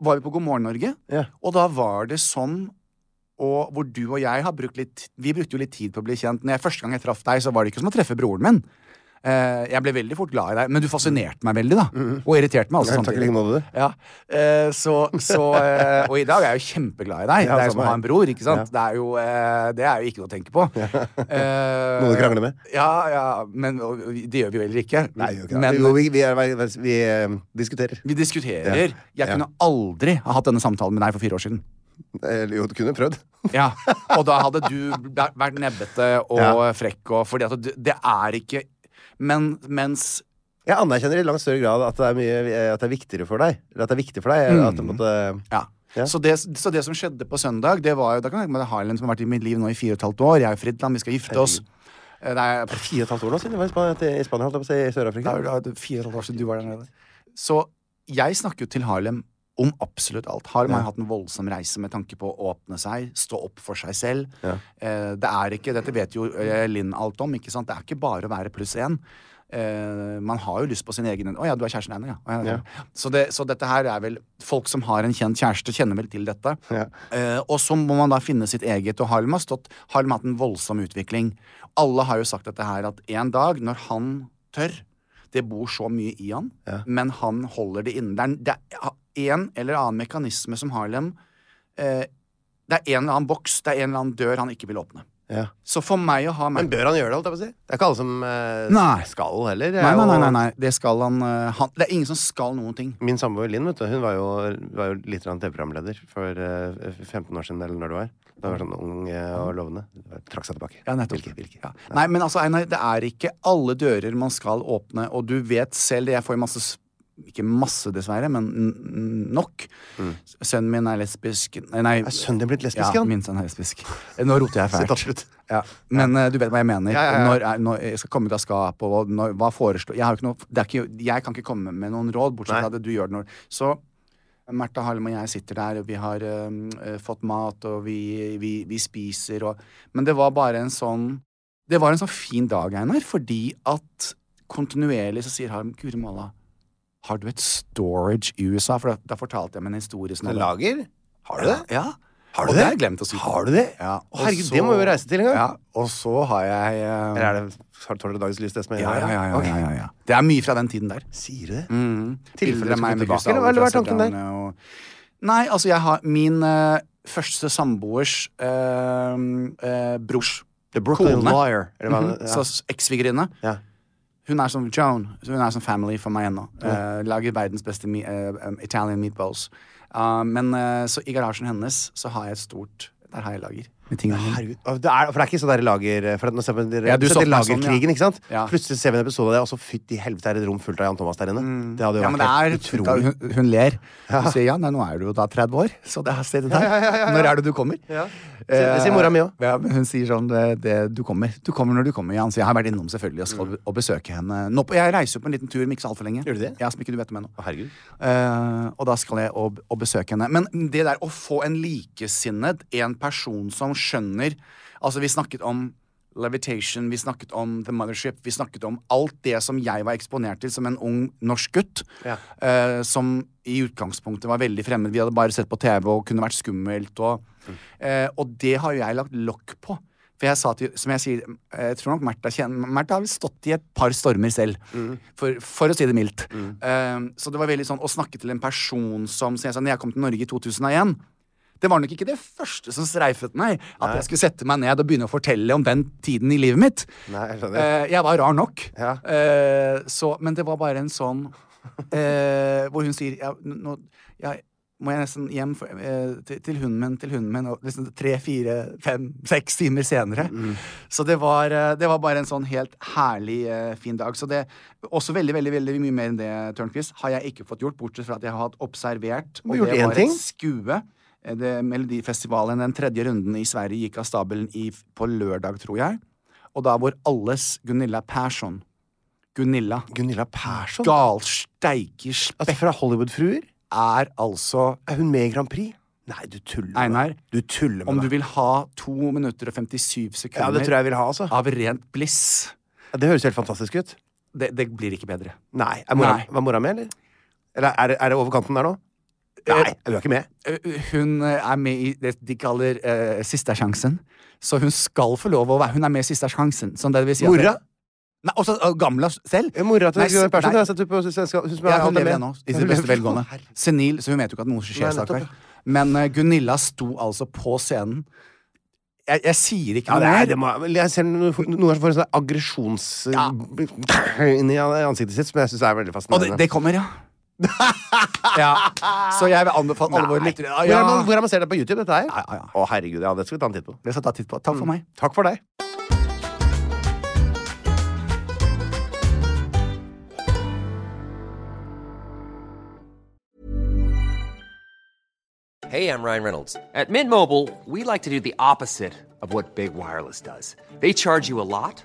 [SPEAKER 3] var vi på God morgen Norge,
[SPEAKER 1] Ja.
[SPEAKER 3] og da var det sånn og hvor du og jeg har brukt litt Vi brukte jo litt tid på å bli kjent. Når jeg Første gang jeg traff deg, så var det ikke som å treffe broren min. Eh, jeg ble veldig fort glad i deg, men du fascinerte meg veldig, da. Og irriterte meg også.
[SPEAKER 1] Mhm. Takk i like måte, du.
[SPEAKER 3] Ja, eh, så, så eh, Og i dag er jeg jo kjempeglad i deg.
[SPEAKER 1] Ja,
[SPEAKER 3] det er
[SPEAKER 1] samme
[SPEAKER 3] jo som å ha
[SPEAKER 1] her.
[SPEAKER 3] en bror, ikke sant? Det, er jo, eh, det er jo ikke noe å tenke
[SPEAKER 1] [laughs]
[SPEAKER 3] på. Eh,
[SPEAKER 1] Noe du krangler med?
[SPEAKER 3] Ja, ja, men og, vi- det gjør vi vel ikke.
[SPEAKER 1] Nei, vi gjør ikke det.
[SPEAKER 3] men
[SPEAKER 1] jo, vi, vi, er, vi, vi eh, diskuterer.
[SPEAKER 3] vi diskuterer.
[SPEAKER 1] Ja, ja.
[SPEAKER 3] Jeg kunne aldri ha hatt denne samtalen med deg for fire år siden.
[SPEAKER 1] Eller jo, du kunne prøvd. [laughs]
[SPEAKER 3] Ja, Og da hadde du bl- vært nebbete og
[SPEAKER 1] Ja.
[SPEAKER 3] frekk og Fordi at det- det er ikke Men mens
[SPEAKER 1] Jeg anerkjenner i langt større grad at det er, mye, eh, at det er viktigere for deg. Eller at det er viktig for deg. eh, At det, på en måte,
[SPEAKER 3] Ja.
[SPEAKER 1] Ja.
[SPEAKER 3] Så, det, så det som skjedde på søndag, det var jo Da kan jeg tenke meg det er Harlem som har vært i mitt liv nå i fire og et halvt år. Jeg er jo Fridland, vi skal gifte oss. Eh, Det er
[SPEAKER 1] fire og et halvt år nå siden jeg var i Spania, i Spania holdt jeg på å si, i
[SPEAKER 3] det
[SPEAKER 1] Sør-Afrika.
[SPEAKER 3] er jo da fire og et halvt år siden du var der nede. Så jeg snakker jo til Harlem om absolutt alt. Harm har hatt en voldsom reise med tanke på å åpne seg, stå opp for seg selv. Eh, det er ikke, Dette vet jo eh, Linn alt om. ikke sant? Det er ikke bare å være pluss én. Eh, man har jo lyst på sin egen Å ja, du er kjæresten hennes, ja. Å, ja, ja. Så, det, så dette her er vel Folk som har en kjent kjæreste, kjenner vel til dette. Eh, og så må man da finne sitt eget, og Harlem har stått Harlem har hatt en voldsom utvikling. Alle har jo sagt dette her, at en dag, når han tør det bor så mye i han, men han holder det inne. Det er, det er en eller annen mekanisme som Harlem eh, Det er en eller annen boks, det er en eller annen dør han ikke vil åpne.
[SPEAKER 1] Ja.
[SPEAKER 3] Så for meg å ha
[SPEAKER 1] Men bør han gjøre det? holdt jeg på å si? Det er ikke alle som eh,
[SPEAKER 3] Nei.
[SPEAKER 1] skal heller. Jeg
[SPEAKER 3] Nei,
[SPEAKER 1] er
[SPEAKER 3] nei, nei,
[SPEAKER 1] jo-
[SPEAKER 3] nei, nei. Det skal han, eh, han Det er ingen som skal noen ting.
[SPEAKER 1] Min samboer Linn vet du, hun var jo, var jo litt grann TV-programleder for eh, 15 år siden. eller når det var. Da var hun sånn ung eh, og lovende. Trakk seg tilbake.
[SPEAKER 3] Ja, nettopp.
[SPEAKER 1] Hvilke, hvilke.
[SPEAKER 3] Ja. Nei, men altså, Einar, det er ikke alle dører man skal åpne, og du vet selv det. Jeg får jo masse s- Ikke masse, dessverre, men n- n- nok. Sønnen min er lesbisk Nei, nei.
[SPEAKER 1] Mm. Er sønnen din blitt lesbisk,
[SPEAKER 3] ja,
[SPEAKER 1] han?
[SPEAKER 3] min sønn er lesbisk. Nå roter
[SPEAKER 1] [laughs]
[SPEAKER 3] jeg
[SPEAKER 1] Sitat
[SPEAKER 3] fælt.
[SPEAKER 1] slutt.
[SPEAKER 3] Ja. Men eh, du vet hva jeg mener.
[SPEAKER 1] Ja, ja, ja.
[SPEAKER 3] Når, er- når jeg skal komme ut av skapet, og når, hva foreslår jeg, har jo ikke noe, det er ikke, jeg kan ikke komme med noen råd, bortsett
[SPEAKER 1] Nei.
[SPEAKER 3] fra det du gjør det når Så Märtha Halm og jeg sitter der, og vi har eh, eh, fått mat, og vi, vi, vi spiser og Men det var bare en sånn Det var en sånn fin dag, Einar, fordi at kontinuerlig så sier Harm Guri malla, har du et storage i USA? For da, da fortalte jeg meg en historie som hadde-
[SPEAKER 1] Lager? Har du det?
[SPEAKER 3] Ja.
[SPEAKER 1] Har du
[SPEAKER 3] og
[SPEAKER 1] det?
[SPEAKER 3] det har jeg glemt å si.
[SPEAKER 1] Har du det?
[SPEAKER 3] Ja,
[SPEAKER 1] Å,
[SPEAKER 3] og
[SPEAKER 1] herregud,
[SPEAKER 3] så-
[SPEAKER 1] det må vi jo reise til en gang.
[SPEAKER 3] Ja, og så har jeg eh,
[SPEAKER 1] Eller er det, har- tåler det dagens lys, det som er
[SPEAKER 3] ja, ja, ja, ja,
[SPEAKER 1] Ok.
[SPEAKER 3] ja, ja, ja. Det er mye fra den tiden der.
[SPEAKER 1] Sier du det?
[SPEAKER 3] Bilder
[SPEAKER 1] Tilfellet
[SPEAKER 3] av meg med
[SPEAKER 1] Skuterkrysset, eller hva-
[SPEAKER 3] basaller
[SPEAKER 1] eller hva er
[SPEAKER 3] fra
[SPEAKER 1] tanken der?
[SPEAKER 3] Sør-Trøndelag Og... Nei, altså, jeg har min eh, første samboers eh, eh, brors
[SPEAKER 1] The Brooklyn
[SPEAKER 3] Kone.
[SPEAKER 1] Liar. Eller hva
[SPEAKER 3] Mhm.
[SPEAKER 1] det-
[SPEAKER 3] eh, [laughs] Så s- Eksvigerinne.
[SPEAKER 1] Ja.
[SPEAKER 3] Hun er som Joan. så Hun er som family for meg ennå. Eh, lager verdens beste mi eh, um, Italian meatballs. Ah, men eh, så i garasjen hennes så har jeg et stort Der har jeg lager. Med tingene mine.
[SPEAKER 1] Herregud. Å, Det er, for det er ikke sånn der lager... For at nå ser vi, dere,
[SPEAKER 3] Ja, du
[SPEAKER 1] du setter
[SPEAKER 3] sovner sånn, ja.
[SPEAKER 1] lagerkrigen, ikke sant?
[SPEAKER 3] Ja.
[SPEAKER 1] Plutselig ser vi en episode av det, og så fytti helvete er det et rom fullt av Jan Thomas der inne. Det hadde jo
[SPEAKER 3] Mm. Ja, men det
[SPEAKER 1] vært
[SPEAKER 3] er,
[SPEAKER 1] helt utrolig.
[SPEAKER 3] hun, hun ler. Hun sier ja, nei, nå er du jo da 30 år, så det her stedet der. Når er det du kommer?
[SPEAKER 1] Ja. Sier- det sier mora mi også.
[SPEAKER 3] Eh, Ja, men hun sier sånn det, det, du, kommer. du kommer når du kommer, Jan. Så jeg har vært innom selvfølgelig og skal og besøke henne. Nå, på- jeg reiser jo på en liten tur om ikke så altfor lenge.
[SPEAKER 1] Mm. Gjør du det?
[SPEAKER 3] Ja, som ikke du vet om ennå.
[SPEAKER 1] Å, herregud.
[SPEAKER 3] Eh, og da skal jeg og, og besøke henne. Men det der å få en likesinnet, en person som skjønner Altså, vi snakket om Levitation, vi snakket om The Mothership, vi snakket om alt det som jeg var eksponert til som en ung norsk gutt.
[SPEAKER 1] Ja.
[SPEAKER 3] eh, som i utgangspunktet var veldig fremmed. Vi hadde bare sett på TV og kunne vært skummelt. Og, eh, og det har jo jeg lagt lokk på. For jeg sa til, som jeg sier, eh, jeg tror nok Märtha kjenner Märtha har vel stått i et par stormer selv, for, for å si det mildt. Eh, så det var veldig sånn å snakke til en person som Så jeg sa, når jeg kom til Norge i 2001 det var nok ikke det første som streifet meg, at jeg skulle sette meg ned og begynne å fortelle om den tiden i livet mitt.
[SPEAKER 1] Nei, jeg skjønner.
[SPEAKER 3] Eh, jeg var rar nok.
[SPEAKER 1] Ja.
[SPEAKER 3] Eh, så, men det var bare en sånn eh, Hvor hun sier ja, n- nå, jeg, Må jeg nesten hjem for, eh, til, til hunden min, til hunden min Og liksom tre, fire, fem, seks timer senere.
[SPEAKER 1] Mm.
[SPEAKER 3] Så det var, eh, det var bare en sånn helt herlig, eh, fin dag. Så det Også veldig, veldig veldig mye mer enn det, Tørnquist, har jeg ikke fått gjort, bortsett fra at jeg har hatt observert.
[SPEAKER 1] har gjort
[SPEAKER 3] det
[SPEAKER 1] én
[SPEAKER 3] var
[SPEAKER 1] ting.
[SPEAKER 3] et skue. Eh, Det, Melodifestivalen, den tredje runden i Sverige, gikk av stabelen i, på lørdag, tror jeg. Og da hvor alles Gunilla Persson Gunilla
[SPEAKER 1] Gunilla Persson?
[SPEAKER 3] Galsteike
[SPEAKER 1] Altså, fra Hollywood-fruer?
[SPEAKER 3] er altså
[SPEAKER 1] Er hun med i Grand Prix? Nei, du tuller med
[SPEAKER 3] Einar,
[SPEAKER 1] meg. Du tuller
[SPEAKER 3] Om
[SPEAKER 1] med
[SPEAKER 3] du
[SPEAKER 1] meg.
[SPEAKER 3] vil ha 2 minutter og 57 sekunder
[SPEAKER 1] Ja, det tror jeg jeg vil ha, altså.
[SPEAKER 3] av rent bliss
[SPEAKER 1] Ja, Det høres helt fantastisk ut.
[SPEAKER 3] det, det blir ikke bedre.
[SPEAKER 1] Nei. Er mora,
[SPEAKER 3] Nei.
[SPEAKER 1] Var mora med, eller? Eller er, er det over kanten der nå? Nei, du er ikke med.
[SPEAKER 3] Eh, Hun eh, er med i det de kaller eh, Siste sjansen. Så hun skal få lov å være Hun er med i Siste sjansen. Sånn det vil si at-
[SPEAKER 1] Mora?
[SPEAKER 3] Nei, også eh, gamla selv.
[SPEAKER 1] Ja, Mora til
[SPEAKER 3] Nei,
[SPEAKER 1] Gunilla
[SPEAKER 3] s-
[SPEAKER 1] Persson?
[SPEAKER 3] nei.
[SPEAKER 1] Jeg har sett henne på svenska. Hun som er
[SPEAKER 3] Ja, hun
[SPEAKER 1] alltid
[SPEAKER 3] lever
[SPEAKER 1] med.
[SPEAKER 3] ennå, i
[SPEAKER 1] Ja,
[SPEAKER 3] sitt
[SPEAKER 1] hun
[SPEAKER 3] beste
[SPEAKER 1] lever-
[SPEAKER 3] velgående.
[SPEAKER 1] Å, herregud.
[SPEAKER 3] Senil, så hun vet jo ikke at noe skjer.
[SPEAKER 1] Nei, nettopp,
[SPEAKER 3] stakkar. Men eh, Gunilla sto altså på scenen. Jeg, jeg sier ikke
[SPEAKER 1] Ja, det
[SPEAKER 3] noe
[SPEAKER 1] er,
[SPEAKER 3] mer.
[SPEAKER 1] det må, vel, jeg ser noen noen som får en sånn aggresjons... Inni ansiktet sitt, som jeg syns er veldig
[SPEAKER 3] Og det,
[SPEAKER 1] fascinerende.
[SPEAKER 3] det kommer,
[SPEAKER 1] [laughs]
[SPEAKER 3] ja. ja. Så jeg vil anbefale alle våre
[SPEAKER 1] Nei.
[SPEAKER 3] lyttere
[SPEAKER 1] Hvor
[SPEAKER 3] ja.
[SPEAKER 1] er man- Hvor er man ser det på YouTube, dette her?
[SPEAKER 3] Ja, ja, ja.
[SPEAKER 1] Å, herregud, ja, det skal vi ta en titt på.
[SPEAKER 3] Det skal jeg ta titt på. Takk for meg.
[SPEAKER 1] Takk for deg.
[SPEAKER 4] Hey, I'm Ryan Reynolds. At Mint Mobile, we like to do the opposite of what Big Wireless does. They charge you a lot,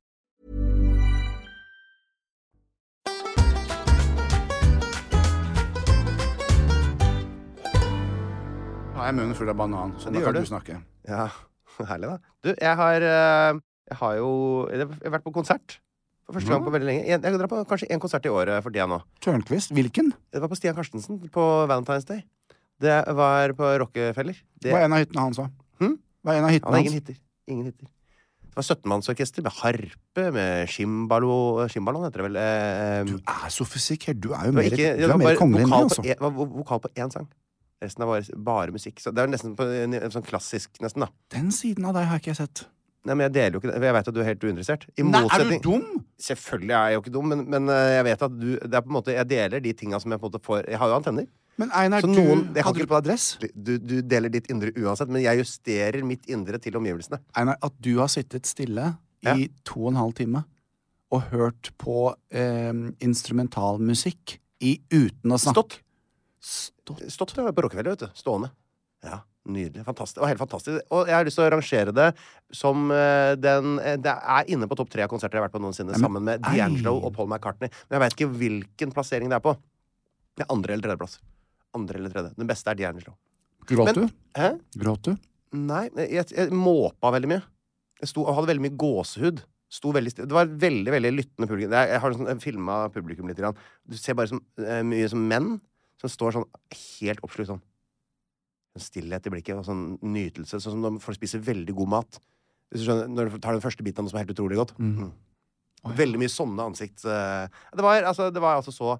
[SPEAKER 3] Har jeg munnen full av banan. Sånn, da
[SPEAKER 1] gjør
[SPEAKER 3] kan
[SPEAKER 1] det.
[SPEAKER 3] du snakke.
[SPEAKER 1] Ja, [laughs] herlig, da. Du, jeg har, eh, jeg har jo jeg har vært på konsert. For første gang på veldig lenge. Jeg, jeg drar på kanskje én konsert i året for tida nå.
[SPEAKER 3] Tørnquist? Hvilken?
[SPEAKER 1] Det var på Stian Karstensen på Valentine's Day. Det var på Rockefeller. Det,
[SPEAKER 3] Var en av hyttene hans òg.
[SPEAKER 1] Hm?
[SPEAKER 3] Var en av
[SPEAKER 1] han
[SPEAKER 3] hyttene
[SPEAKER 1] har
[SPEAKER 3] hans.
[SPEAKER 1] ingen hitter. Ingen hitter. Det var 17-mannsorkester med harpe, med skimbalo Skimbalon heter det vel. eh,
[SPEAKER 3] Du er sofisikert. Du er jo
[SPEAKER 1] det var
[SPEAKER 3] mer,
[SPEAKER 1] ikke,
[SPEAKER 3] du
[SPEAKER 1] det
[SPEAKER 3] er
[SPEAKER 1] var
[SPEAKER 3] mer
[SPEAKER 1] bare
[SPEAKER 3] kongelig enn
[SPEAKER 1] vokal på,
[SPEAKER 3] meg, altså.
[SPEAKER 1] en, var vo- vokal på én sang. Resten er bare, bare musikk. Så det er nesten på, en, en sånn klassisk, nesten, da.
[SPEAKER 3] Den siden av deg har ikke jeg sett.
[SPEAKER 1] Nei, men jeg deler jo ikke det. Jeg vet at du er helt uinteressert. I
[SPEAKER 3] Nei, er du
[SPEAKER 1] motsetning-
[SPEAKER 3] dum?
[SPEAKER 1] Selvfølgelig er jeg jo ikke dum, men, men eh, jeg vet at du det er på en måte, Jeg deler de tinga som jeg på en måte får Jeg har jo antenner.
[SPEAKER 3] Men Einar,
[SPEAKER 1] Så noen-
[SPEAKER 3] du
[SPEAKER 1] jeg kan
[SPEAKER 3] hadde
[SPEAKER 1] ikke-
[SPEAKER 3] du på deg dress?
[SPEAKER 1] Du, du deler ditt indre uansett, men jeg justerer mitt indre til omgivelsene.
[SPEAKER 3] Einar, at du har sittet stille
[SPEAKER 1] Ja.
[SPEAKER 3] i to og en halv time og hørt på eh, instrumentalmusikk i, uten å snakke. Stått.
[SPEAKER 1] Stått der på Rockefeller, vet du. Stående. Ja, Nydelig. Fantastisk. Og helt fantastisk. Og jeg har lyst til å rangere det som eh, den eh, Det er inne på topp tre av konserter jeg har vært på noensinne, sammen med
[SPEAKER 3] ei.
[SPEAKER 1] D'Angelo og Paul McCartney. Men jeg veit ikke hvilken plassering det er på. Det er andre eller tredjeplass. Andre eller tredje. Den beste er D'Angelo.
[SPEAKER 3] Gråt
[SPEAKER 1] Men-
[SPEAKER 3] du?
[SPEAKER 1] Hæ?
[SPEAKER 3] Gråt du?
[SPEAKER 1] Nei, jeg, jeg måpa veldig mye. Jeg sto, og hadde veldig mye gåsehud. Sto veldig, sti- det var et veldig veldig lyttende publikum. Jeg, jeg har sånn, filma publikum litt. Grann. Du ser bare som, eh, mye som menn som står sånn helt oppslukt sånn. En stillhet i blikket og sånn nytelse. Sånn som når folk spiser veldig god mat. Hvis du skjønner, når du tar den første biten av noe som er helt utrolig godt. Mm. Veldig mye sånne ansikt... eh, det, var, altså, det var altså så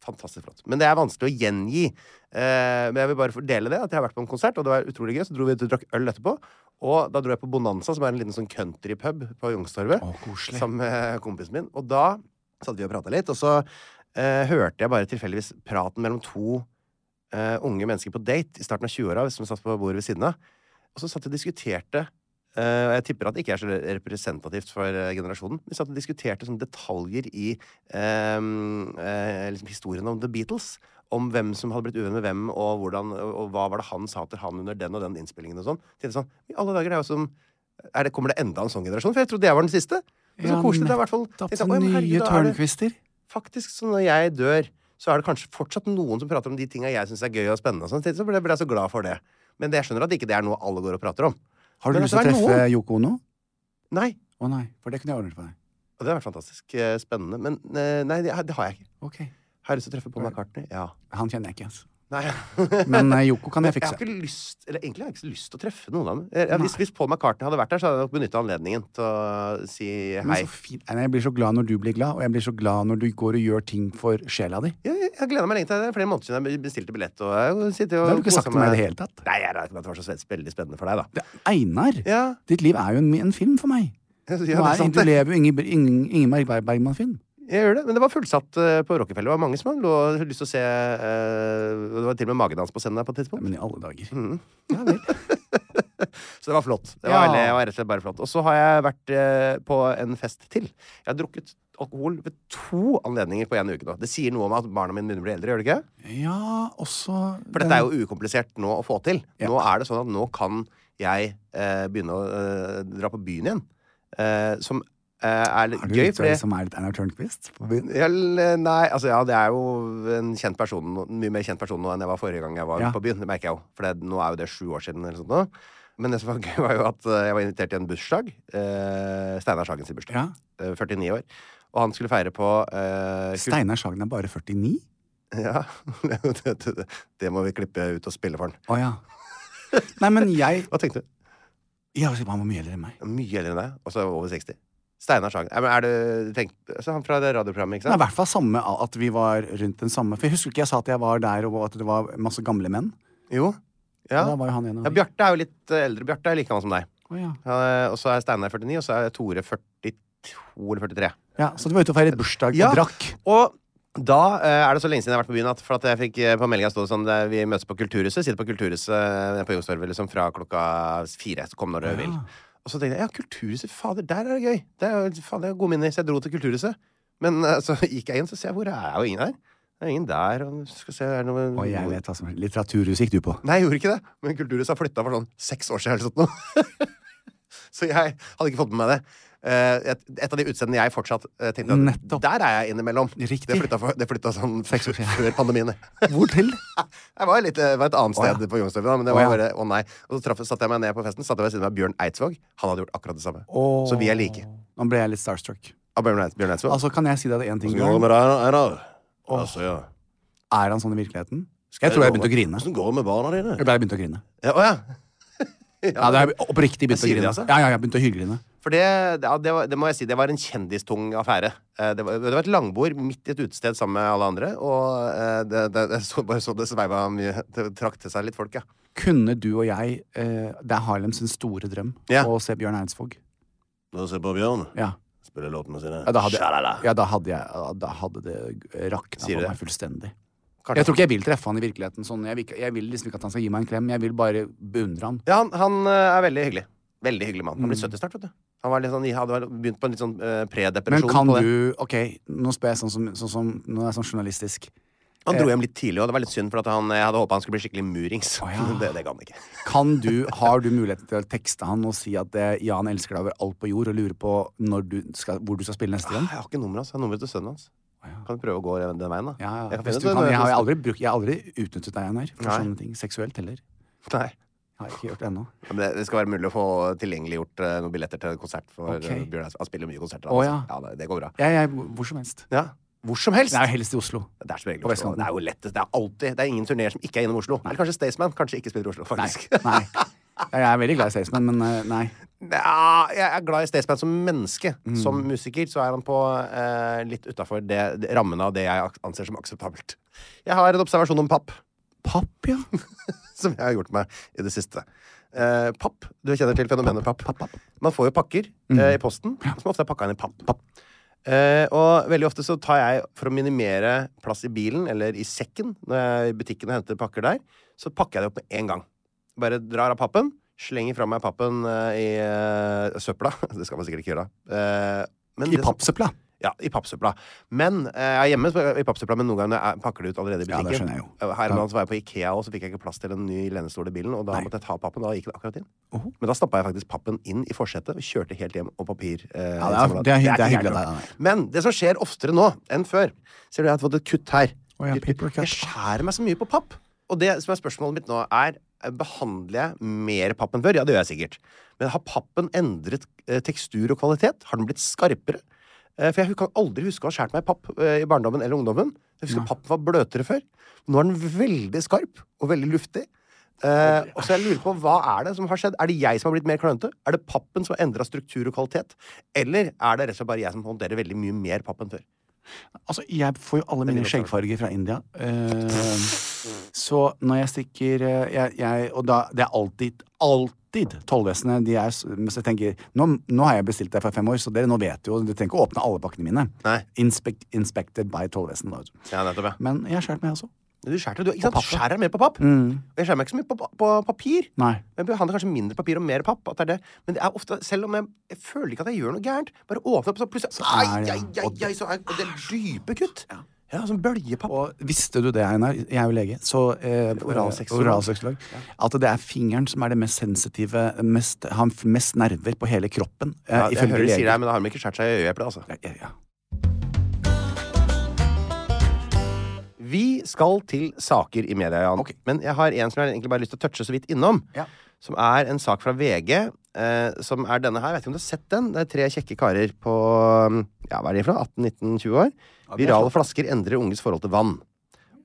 [SPEAKER 1] fantastisk flott. Men det er vanskelig å gjengi. Eh, men jeg vil bare fordele det, at jeg har vært på en konsert, og det var utrolig gøy. Så dro vi ut og drakk øl etterpå. Og da dro jeg på Bonanza, som er en liten sånn countrypub på Youngstorget.
[SPEAKER 3] Å, koselig.
[SPEAKER 1] Sammen med kompisen min. Og da satt vi og prata litt, og så eh, hørte jeg bare tilfeldigvis praten mellom to eh, unge mennesker på date i starten av 20-åra, som satt på bordet ved siden av. Og så satt de og diskuterte eh, Og jeg tipper at det ikke er så representativt for eh, generasjonen. Vi satt og diskuterte sånne detaljer i eh, eh, liksom historien om The Beatles. Om hvem som hadde blitt uvenn med hvem, og, hvordan, og, og hva var det han sa til han under den og den innspillingen. og sånn. Tenkte sånn, I alle dager, det er jo som er det, Kommer det enda en sånn generasjon? For jeg trodde jeg var den siste. Men så
[SPEAKER 3] Ja,
[SPEAKER 1] koselig. det er i hvert fall.
[SPEAKER 3] nettopp.
[SPEAKER 1] Tenkte jeg, «Å, ja, men herregud,
[SPEAKER 3] nye
[SPEAKER 1] da er det-
[SPEAKER 3] Tørnquister.
[SPEAKER 1] faktisk så når jeg dør, så er det kanskje fortsatt noen som prater om de tinga jeg syns er gøy og spennende. Og sånn, så ble ble jeg så glad for det. Men jeg skjønner at ikke det er noe alle går og prater om.
[SPEAKER 3] Har du
[SPEAKER 1] Men
[SPEAKER 3] lyst til å
[SPEAKER 1] det er
[SPEAKER 3] treffe
[SPEAKER 1] noen.
[SPEAKER 3] Yoko Ono?
[SPEAKER 1] Nei.
[SPEAKER 3] Å nei, for det kunne jeg ordnet for deg.
[SPEAKER 1] Og det har vært fantastisk eh, spennende. Men eh, nei, det, har- det har jeg ikke.
[SPEAKER 3] Ok.
[SPEAKER 1] Har jeg lyst til å treffe Paul McCartney? Ja.
[SPEAKER 3] Han kjenner jeg ikke,
[SPEAKER 1] [laughs]
[SPEAKER 3] altså.
[SPEAKER 1] Nei.
[SPEAKER 3] Men eh, Yoko kan jeg
[SPEAKER 1] Jeg har
[SPEAKER 3] fikse.
[SPEAKER 1] ikke lyst Eller egentlig har jeg ikke så lyst til å treffe noen av dem. Eh, ja, hvis, hvis Paul McCartney hadde vært der, så hadde jeg nok benytta anledningen til å si
[SPEAKER 3] Men
[SPEAKER 1] hei.
[SPEAKER 3] så fint. Einar, Jeg blir så glad når du blir glad, og jeg blir så glad når du går og gjør ting for sjela di.
[SPEAKER 1] Jeg, jeg gleda meg lenge til det. Det er flere måneder siden jeg bestilte billett. Og jeg sitter og
[SPEAKER 3] Det har du ikke
[SPEAKER 1] koser
[SPEAKER 3] sagt til meg i det hele tatt.
[SPEAKER 1] Nei, jeg regnet med at det var så spe- veldig spennende for deg, da.
[SPEAKER 3] Det, Einar,
[SPEAKER 1] Ja, [laughs]
[SPEAKER 3] ditt liv er jo en, en film for meg.
[SPEAKER 1] ja, det
[SPEAKER 3] Du,
[SPEAKER 1] er
[SPEAKER 3] er,
[SPEAKER 1] sant,
[SPEAKER 3] du
[SPEAKER 1] det.
[SPEAKER 3] lever jo Inge, Inge, Ingemar Berg- Bergman-film.
[SPEAKER 1] Jeg gjør det, Men det var fullsatt eh, på Rockefeller. Det var mange som hadde lå- hadde lyst til å se eh, Det var til og med magedans på scenen der på et tidspunkt.
[SPEAKER 3] Men i alle dager.
[SPEAKER 1] Ja, vel. så det var flott. Det var,
[SPEAKER 3] Ja.
[SPEAKER 1] veldig, det var rett og slett bare flott. Og så har jeg vært eh, på en fest til. Jeg har drukket alkohol ved to anledninger på én uke nå. Det sier noe om at barna mine begynner å bli eldre, gjør det ikke?
[SPEAKER 3] [laughs] Ja, også
[SPEAKER 1] For dette er jo ukomplisert nå å få til.
[SPEAKER 3] Ja.
[SPEAKER 1] Nå er det sånn at nå kan jeg eh, begynne å eh, dra på byen igjen. Eh, som eh, er litt
[SPEAKER 3] Har du liksom
[SPEAKER 1] gøy,
[SPEAKER 3] lyst til
[SPEAKER 1] fordi
[SPEAKER 3] som er litt Einar Tørnquist? på byen?
[SPEAKER 1] Ja, l- nei, altså ja, det er jo en kjent person nå- en mye mer kjent person nå enn jeg var forrige gang jeg var
[SPEAKER 3] Ja.
[SPEAKER 1] på byen. Det merker jeg jo, for det, nå er jo det sju år siden. eller sånt nå. Men det som var [laughs] gøy, var jo at eh, jeg var invitert til en bursdag. Eh, Steinar Sagen sin bursdag.
[SPEAKER 3] Ja.
[SPEAKER 1] Eh, 49 år. Og han skulle feire på eh, kul-
[SPEAKER 3] Steinar Sagen er bare 49?
[SPEAKER 1] [laughs] Ja. [laughs] det, det, det må vi klippe ut og spille for han.
[SPEAKER 3] Å ja. [laughs] Nei, men jeg
[SPEAKER 1] Hva tenkte du?
[SPEAKER 3] Ja, Han var mye eldre enn meg.
[SPEAKER 1] Mye eldre enn deg. Og så over 60. Steinar Sagen. Nei, men er det, tenk, altså, han fra det radioprogrammet, ikke
[SPEAKER 3] Det er i
[SPEAKER 1] sant?
[SPEAKER 3] hvert fall samme a- at vi var rundt den samme For jeg husker ikke jeg sa at jeg var der, og at det var masse gamle menn.
[SPEAKER 1] Jo. Ja.
[SPEAKER 3] Da var jo han en
[SPEAKER 1] ja,
[SPEAKER 3] av de.
[SPEAKER 1] Bjarte er jo litt eh, eldre. Bjarte er like gammel som deg.
[SPEAKER 3] Å, ja.
[SPEAKER 1] Ja, Og så er Steinar 49, og så er Tore 42 eller 43.
[SPEAKER 3] ja, Så du var ute og feiret bursdag
[SPEAKER 1] Ja.
[SPEAKER 3] og drakk?
[SPEAKER 1] Og Da eh, er det så lenge siden jeg har vært på byen at, for at jeg fikk eh, på meldinga stå det sånn eh, Vi møtes på Kulturhuset. Sitter på Kulturhuset eh, på Youngstorget liksom, fra klokka fire. Så kom når du vil. Og så tenkte jeg ja, Kulturhuset, fader, der er det gøy. Det er, jo- faen, det er gode minner. Så jeg dro til Kulturhuset. Men eh, så [laughs] gikk jeg inn, så ser jeg hvor er jo ingen her. Det er ingen der. Og skal se, er det noe
[SPEAKER 3] Og jeg vet hva som er Litteraturhuset gikk du på.
[SPEAKER 1] Nei, jeg gjorde ikke det. Men Kulturhuset har flytta for sånn seks år siden. Eller sånt nå. [laughs] så jeg hadde ikke fått med meg det. Eh, et, et av de utseendene jeg fortsatt eh, tenkte at
[SPEAKER 3] Nettopp.
[SPEAKER 1] der er jeg innimellom.
[SPEAKER 3] Riktig.
[SPEAKER 1] Det flytta, for, det flytta sånn
[SPEAKER 3] [laughs] Seks år siden.
[SPEAKER 1] før pandemien. det.
[SPEAKER 3] [laughs]
[SPEAKER 1] [laughs]
[SPEAKER 3] Hvor til?
[SPEAKER 1] Jeg var, litt, eh, var et annet sted
[SPEAKER 3] Å, ja.
[SPEAKER 1] på Youngstorget, da, men det var
[SPEAKER 3] Å, ja.
[SPEAKER 1] bare å nei. Og så traff, satte jeg meg ned på festen, satte jeg meg ved siden av Bjørn Eidsvåg. Han hadde gjort akkurat det samme. Så vi er like.
[SPEAKER 3] Nå ble jeg litt starstruck.
[SPEAKER 1] Av Bjørn Eids- Bjørn Eidsvåg.
[SPEAKER 3] Altså, Kan jeg si deg det én ting?
[SPEAKER 1] Hvordan går det med
[SPEAKER 3] Bjørn?
[SPEAKER 1] deg, Einar? Altså, ja.
[SPEAKER 3] Er han sånn i virkeligheten? Jeg tror jeg begynte å grine.
[SPEAKER 1] Hvordan går det med barna dine?
[SPEAKER 3] Jeg ble begynt å grine.
[SPEAKER 1] Ja, å ja.
[SPEAKER 3] Ja, det er oppriktig begynt å
[SPEAKER 1] Jeg sier det,
[SPEAKER 3] grine.
[SPEAKER 1] altså.
[SPEAKER 3] Ja, ja, jeg begynte å hylgrine.
[SPEAKER 1] For det, ja, det, var, det må jeg si, det var en kjendistung affære. Eh, Det var, det var et langbord midt i et utested sammen med alle andre, og eh, det, det, jeg så bare så det sveiva mye Det trakk til seg litt folk, ja.
[SPEAKER 3] Kunne du og jeg eh, Det er Harlem sin store drøm
[SPEAKER 1] Ja.
[SPEAKER 3] å se Bjørn Eidsvåg.
[SPEAKER 1] Nå ser på Bjørn.
[SPEAKER 3] Ja.
[SPEAKER 1] Spiller låtene sine.
[SPEAKER 3] Ja, da hadde, ja, da hadde, jeg, ja, da hadde det rakna
[SPEAKER 1] Sier
[SPEAKER 3] for
[SPEAKER 1] du det?
[SPEAKER 3] meg fullstendig.
[SPEAKER 1] Kanskje.
[SPEAKER 3] Jeg tror ikke jeg vil treffe han i virkeligheten. Sånn. Jeg, vil, ikke- jeg vil liksom ikke at han skal gi meg en klem. Jeg vil bare beundre han.
[SPEAKER 1] Ja, han, han eh, er veldig hyggelig. Veldig hyggelig mann.
[SPEAKER 3] Mm.
[SPEAKER 1] Han blir 70 snart, vet du. Han var litt sånn, hadde vel begynt på en litt sånn eh,
[SPEAKER 3] Men
[SPEAKER 1] predepresjon.
[SPEAKER 3] kan
[SPEAKER 1] på det.
[SPEAKER 3] du Ok, nå spør jeg sånn som, sånn som Nå er jeg sånn journalistisk.
[SPEAKER 1] Han
[SPEAKER 3] Eh.
[SPEAKER 1] dro hjem litt tidlig, og det var litt synd, for at han, jeg hadde håpa han skulle bli skikkelig murings. Men [laughs] det, det ga han ikke.
[SPEAKER 3] Kan du, Har du muligheten til å tekste han og si at eh, ja, han elsker deg over alt på jord, og lurer på når du skal, hvor du skal spille neste
[SPEAKER 1] Ah, Jeg
[SPEAKER 3] gang?
[SPEAKER 1] har ikke nummeret hans. Jeg har nummeret til sønnen hans. Kan du prøve å gå den veien, da?
[SPEAKER 3] Ja, ja.
[SPEAKER 1] Jeg kan
[SPEAKER 3] Hvis
[SPEAKER 1] finne
[SPEAKER 3] du
[SPEAKER 1] ut
[SPEAKER 3] kan,
[SPEAKER 1] det
[SPEAKER 3] jeg, har
[SPEAKER 1] når
[SPEAKER 3] aldri brukt, jeg har aldri utnyttet deg Einar, for
[SPEAKER 1] Nei.
[SPEAKER 3] sånne ting. Seksuelt heller.
[SPEAKER 1] Nei.
[SPEAKER 3] Har jeg ikke gjort det ennå.
[SPEAKER 1] Ja, men Det, det skal være mulig å få tilgjengeliggjort eh, noen billetter til konsert. For
[SPEAKER 3] Ok.
[SPEAKER 1] eh, Bjørn Eidsvåg. han spiller mye konserter.
[SPEAKER 3] Å,
[SPEAKER 1] altså.
[SPEAKER 3] ja.
[SPEAKER 1] det, det går bra.
[SPEAKER 3] Jeg, jeg, hvor som helst.
[SPEAKER 1] Ja. Hvor som helst!
[SPEAKER 3] Det er jo helst i Oslo.
[SPEAKER 1] Det er som regel
[SPEAKER 3] På
[SPEAKER 1] Oslo.
[SPEAKER 3] Vestkanten.
[SPEAKER 1] Det er jo lettest. Det er alltid Det er ingen turneer som ikke er innom Oslo. Eller kanskje Staysman. Kanskje ikke spiller i Oslo,
[SPEAKER 3] Nei.
[SPEAKER 1] faktisk. [laughs]
[SPEAKER 3] nei. Jeg er veldig glad i Staysman, men eh, nei.
[SPEAKER 1] Ja, jeg er glad i Staysman som menneske.
[SPEAKER 3] Mm.
[SPEAKER 1] Som musiker så er han på eh, litt utafor rammen av det jeg ak- anser som akseptabelt. Jeg har en observasjon om papp
[SPEAKER 3] Papp, ja.
[SPEAKER 1] [laughs] som jeg har gjort meg i det siste. Eh, papp. Du kjenner til fenomenet papp. Man får jo pakker eh, i posten som ofte er pakka inn i papp. Eh, og veldig ofte så tar jeg, for å minimere plass i bilen eller i sekken, når jeg er i butikken og henter pakker der, så pakker jeg det opp med en gang. Bare drar av pappen, slenger fra meg pappen eh, i eh, søpla. [laughs] Det skal man sikkert ikke gjøre. Eh, men
[SPEAKER 3] I
[SPEAKER 1] det som-
[SPEAKER 3] pappsøpla.
[SPEAKER 1] Ja, i pappsøpla. Men eh, jeg er hjemme så- i pappsøpla, men noen ganger når jeg pakker det ut allerede i
[SPEAKER 3] Ja,
[SPEAKER 1] butikken.
[SPEAKER 3] det skjønner jeg jo.
[SPEAKER 1] Eh, Her om dagen så var jeg på Ikea, og så fikk jeg ikke plass til en ny lenestol i bilen, og da
[SPEAKER 3] Nei.
[SPEAKER 1] måtte jeg ta pappen, og da gikk det akkurat inn.
[SPEAKER 3] Oho.
[SPEAKER 1] Men da stappa jeg faktisk pappen inn i forsetet og kjørte helt hjem og papir. eh,
[SPEAKER 3] Ja, det er-
[SPEAKER 1] samlet.
[SPEAKER 3] det er hy- det er
[SPEAKER 1] ikke
[SPEAKER 3] hyggelig
[SPEAKER 1] gærent
[SPEAKER 3] av
[SPEAKER 1] nok.
[SPEAKER 3] deg,
[SPEAKER 1] Men det som skjer oftere nå enn før Ser du, jeg har fått et kutt her.
[SPEAKER 3] Å ja, paper cut.
[SPEAKER 1] Jeg skjærer meg så mye på papp. Og det som er spørsmålet mitt nå, er eh, Behandler jeg mer papp enn før? Ja, det gjør jeg sikkert. Men har pappen endret eh, tekstur og kvalitet? Har den blitt skarpere? Eh, For jeg kan aldri huske å ha skåret meg i papp eh, i barndommen eller ungdommen. Jeg husker pappen var bløtere før. Nå er den veldig skarp og veldig luftig. Eh, og så jeg lurer på, Hva er det som har skjedd? Er det jeg som har blitt mer klønete? Er det pappen som har endra struktur og kvalitet? Eller er det rett og slett bare jeg som håndterer veldig mye mer papp enn før?
[SPEAKER 3] Altså, jeg får jo alle mine skjeggfarger fra India. Eh, så når jeg stikker eh, jeg, jeg, Og da, det er alltid, alltid tollvesenet. De er, s- så jeg tenker, nå, nå har jeg bestilt deg for fem år, så dere nå vet jo Dere trenger ikke å åpne alle pakkene mine.
[SPEAKER 1] Nei.
[SPEAKER 3] Inspect, inspected by tollvesenet. da.
[SPEAKER 1] Ja, nettopp, ja.
[SPEAKER 3] Men jeg har skåret meg altså. også.
[SPEAKER 1] Du skjærer, du, ikke sant? skjærer mer på Mm. papp. Og jeg skjærer meg ikke så mye på, pa- på papir.
[SPEAKER 3] Nei.
[SPEAKER 1] Jeg behandler kanskje mindre papir og mer papp. At det er det. Men det er ofte, selv om jeg, jeg føler ikke at jeg gjør noe gærent, bare åpner opp, så plutselig ai,
[SPEAKER 3] er det-
[SPEAKER 1] ai, ai,
[SPEAKER 3] og det-
[SPEAKER 1] ai, så er og det er dype kutt. Ja, sånn bøljepapp.
[SPEAKER 3] Og visste du det, Einar? Jeg er jo lege. Så eh,
[SPEAKER 1] Oralsexolog.
[SPEAKER 3] oralsexolog. At det er fingeren som er det mest sensitive, mest, har mest nerver på hele kroppen. Eh,
[SPEAKER 1] Ja, jeg
[SPEAKER 3] ifølge
[SPEAKER 1] hører de sier det,
[SPEAKER 3] leger.
[SPEAKER 1] men da har de ikke skjært seg i øyeeplet, altså.
[SPEAKER 3] Ja, ja, ja.
[SPEAKER 1] Vi skal til saker i media, Jan.
[SPEAKER 3] Ok.
[SPEAKER 1] Men jeg har en som jeg egentlig bare har lyst til å touche så vidt innom.
[SPEAKER 3] Ja.
[SPEAKER 1] Som er en sak fra VG, eh, som er denne her. Jeg vet ikke om du har sett den? Det er tre kjekke karer på mm, ja, hva er de for noe? 18-19-20 år. Virale flasker endrer unges forhold til vann.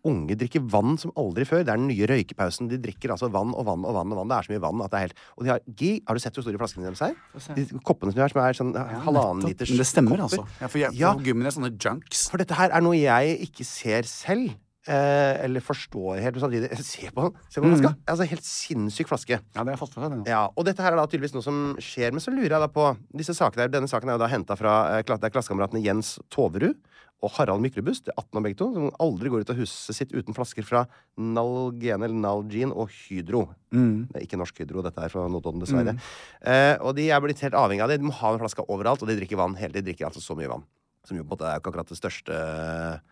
[SPEAKER 1] Unge drikker vann som aldri før. Det er den nye røykepausen. De drikker altså vann og vann og vann. og vann. Det er så mye vann at det er helt Og de har gi- Har du sett hvor store flaskene deres er? De koppene som de har, som er sånn halvannen liters
[SPEAKER 3] Men det stemmer,
[SPEAKER 1] kopper.
[SPEAKER 3] altså. Ja, for jeg,
[SPEAKER 1] Ja.
[SPEAKER 3] på gymmen er sånne junks.
[SPEAKER 1] For dette her er noe jeg ikke ser selv. Eh, eller forstår helt. men Samtidig. [laughs] Se på den! Se på den flaska! Altså, helt sinnssyk flaske.
[SPEAKER 3] Ja, det har jeg fått for meg.
[SPEAKER 1] Ja, og dette her er da tydeligvis noe som skjer, men så lurer jeg da på disse sakene her, Denne saken er jo da henta fra eh, kla- det er klassekameratene Jens Toverud og Harald Myklebust, det er 18 av begge to, som aldri går ut av huset sitt uten flasker fra Nalgene eller Nalgene og Hydro. Det er ikke Norsk Hydro, dette er fra Notodden, dessverre. Eh, og de er blitt helt avhengig av det. De må ha en flaske overalt, og de drikker vann hele De drikker altså så mye vann. Som jo på en måte er ikke akkurat det største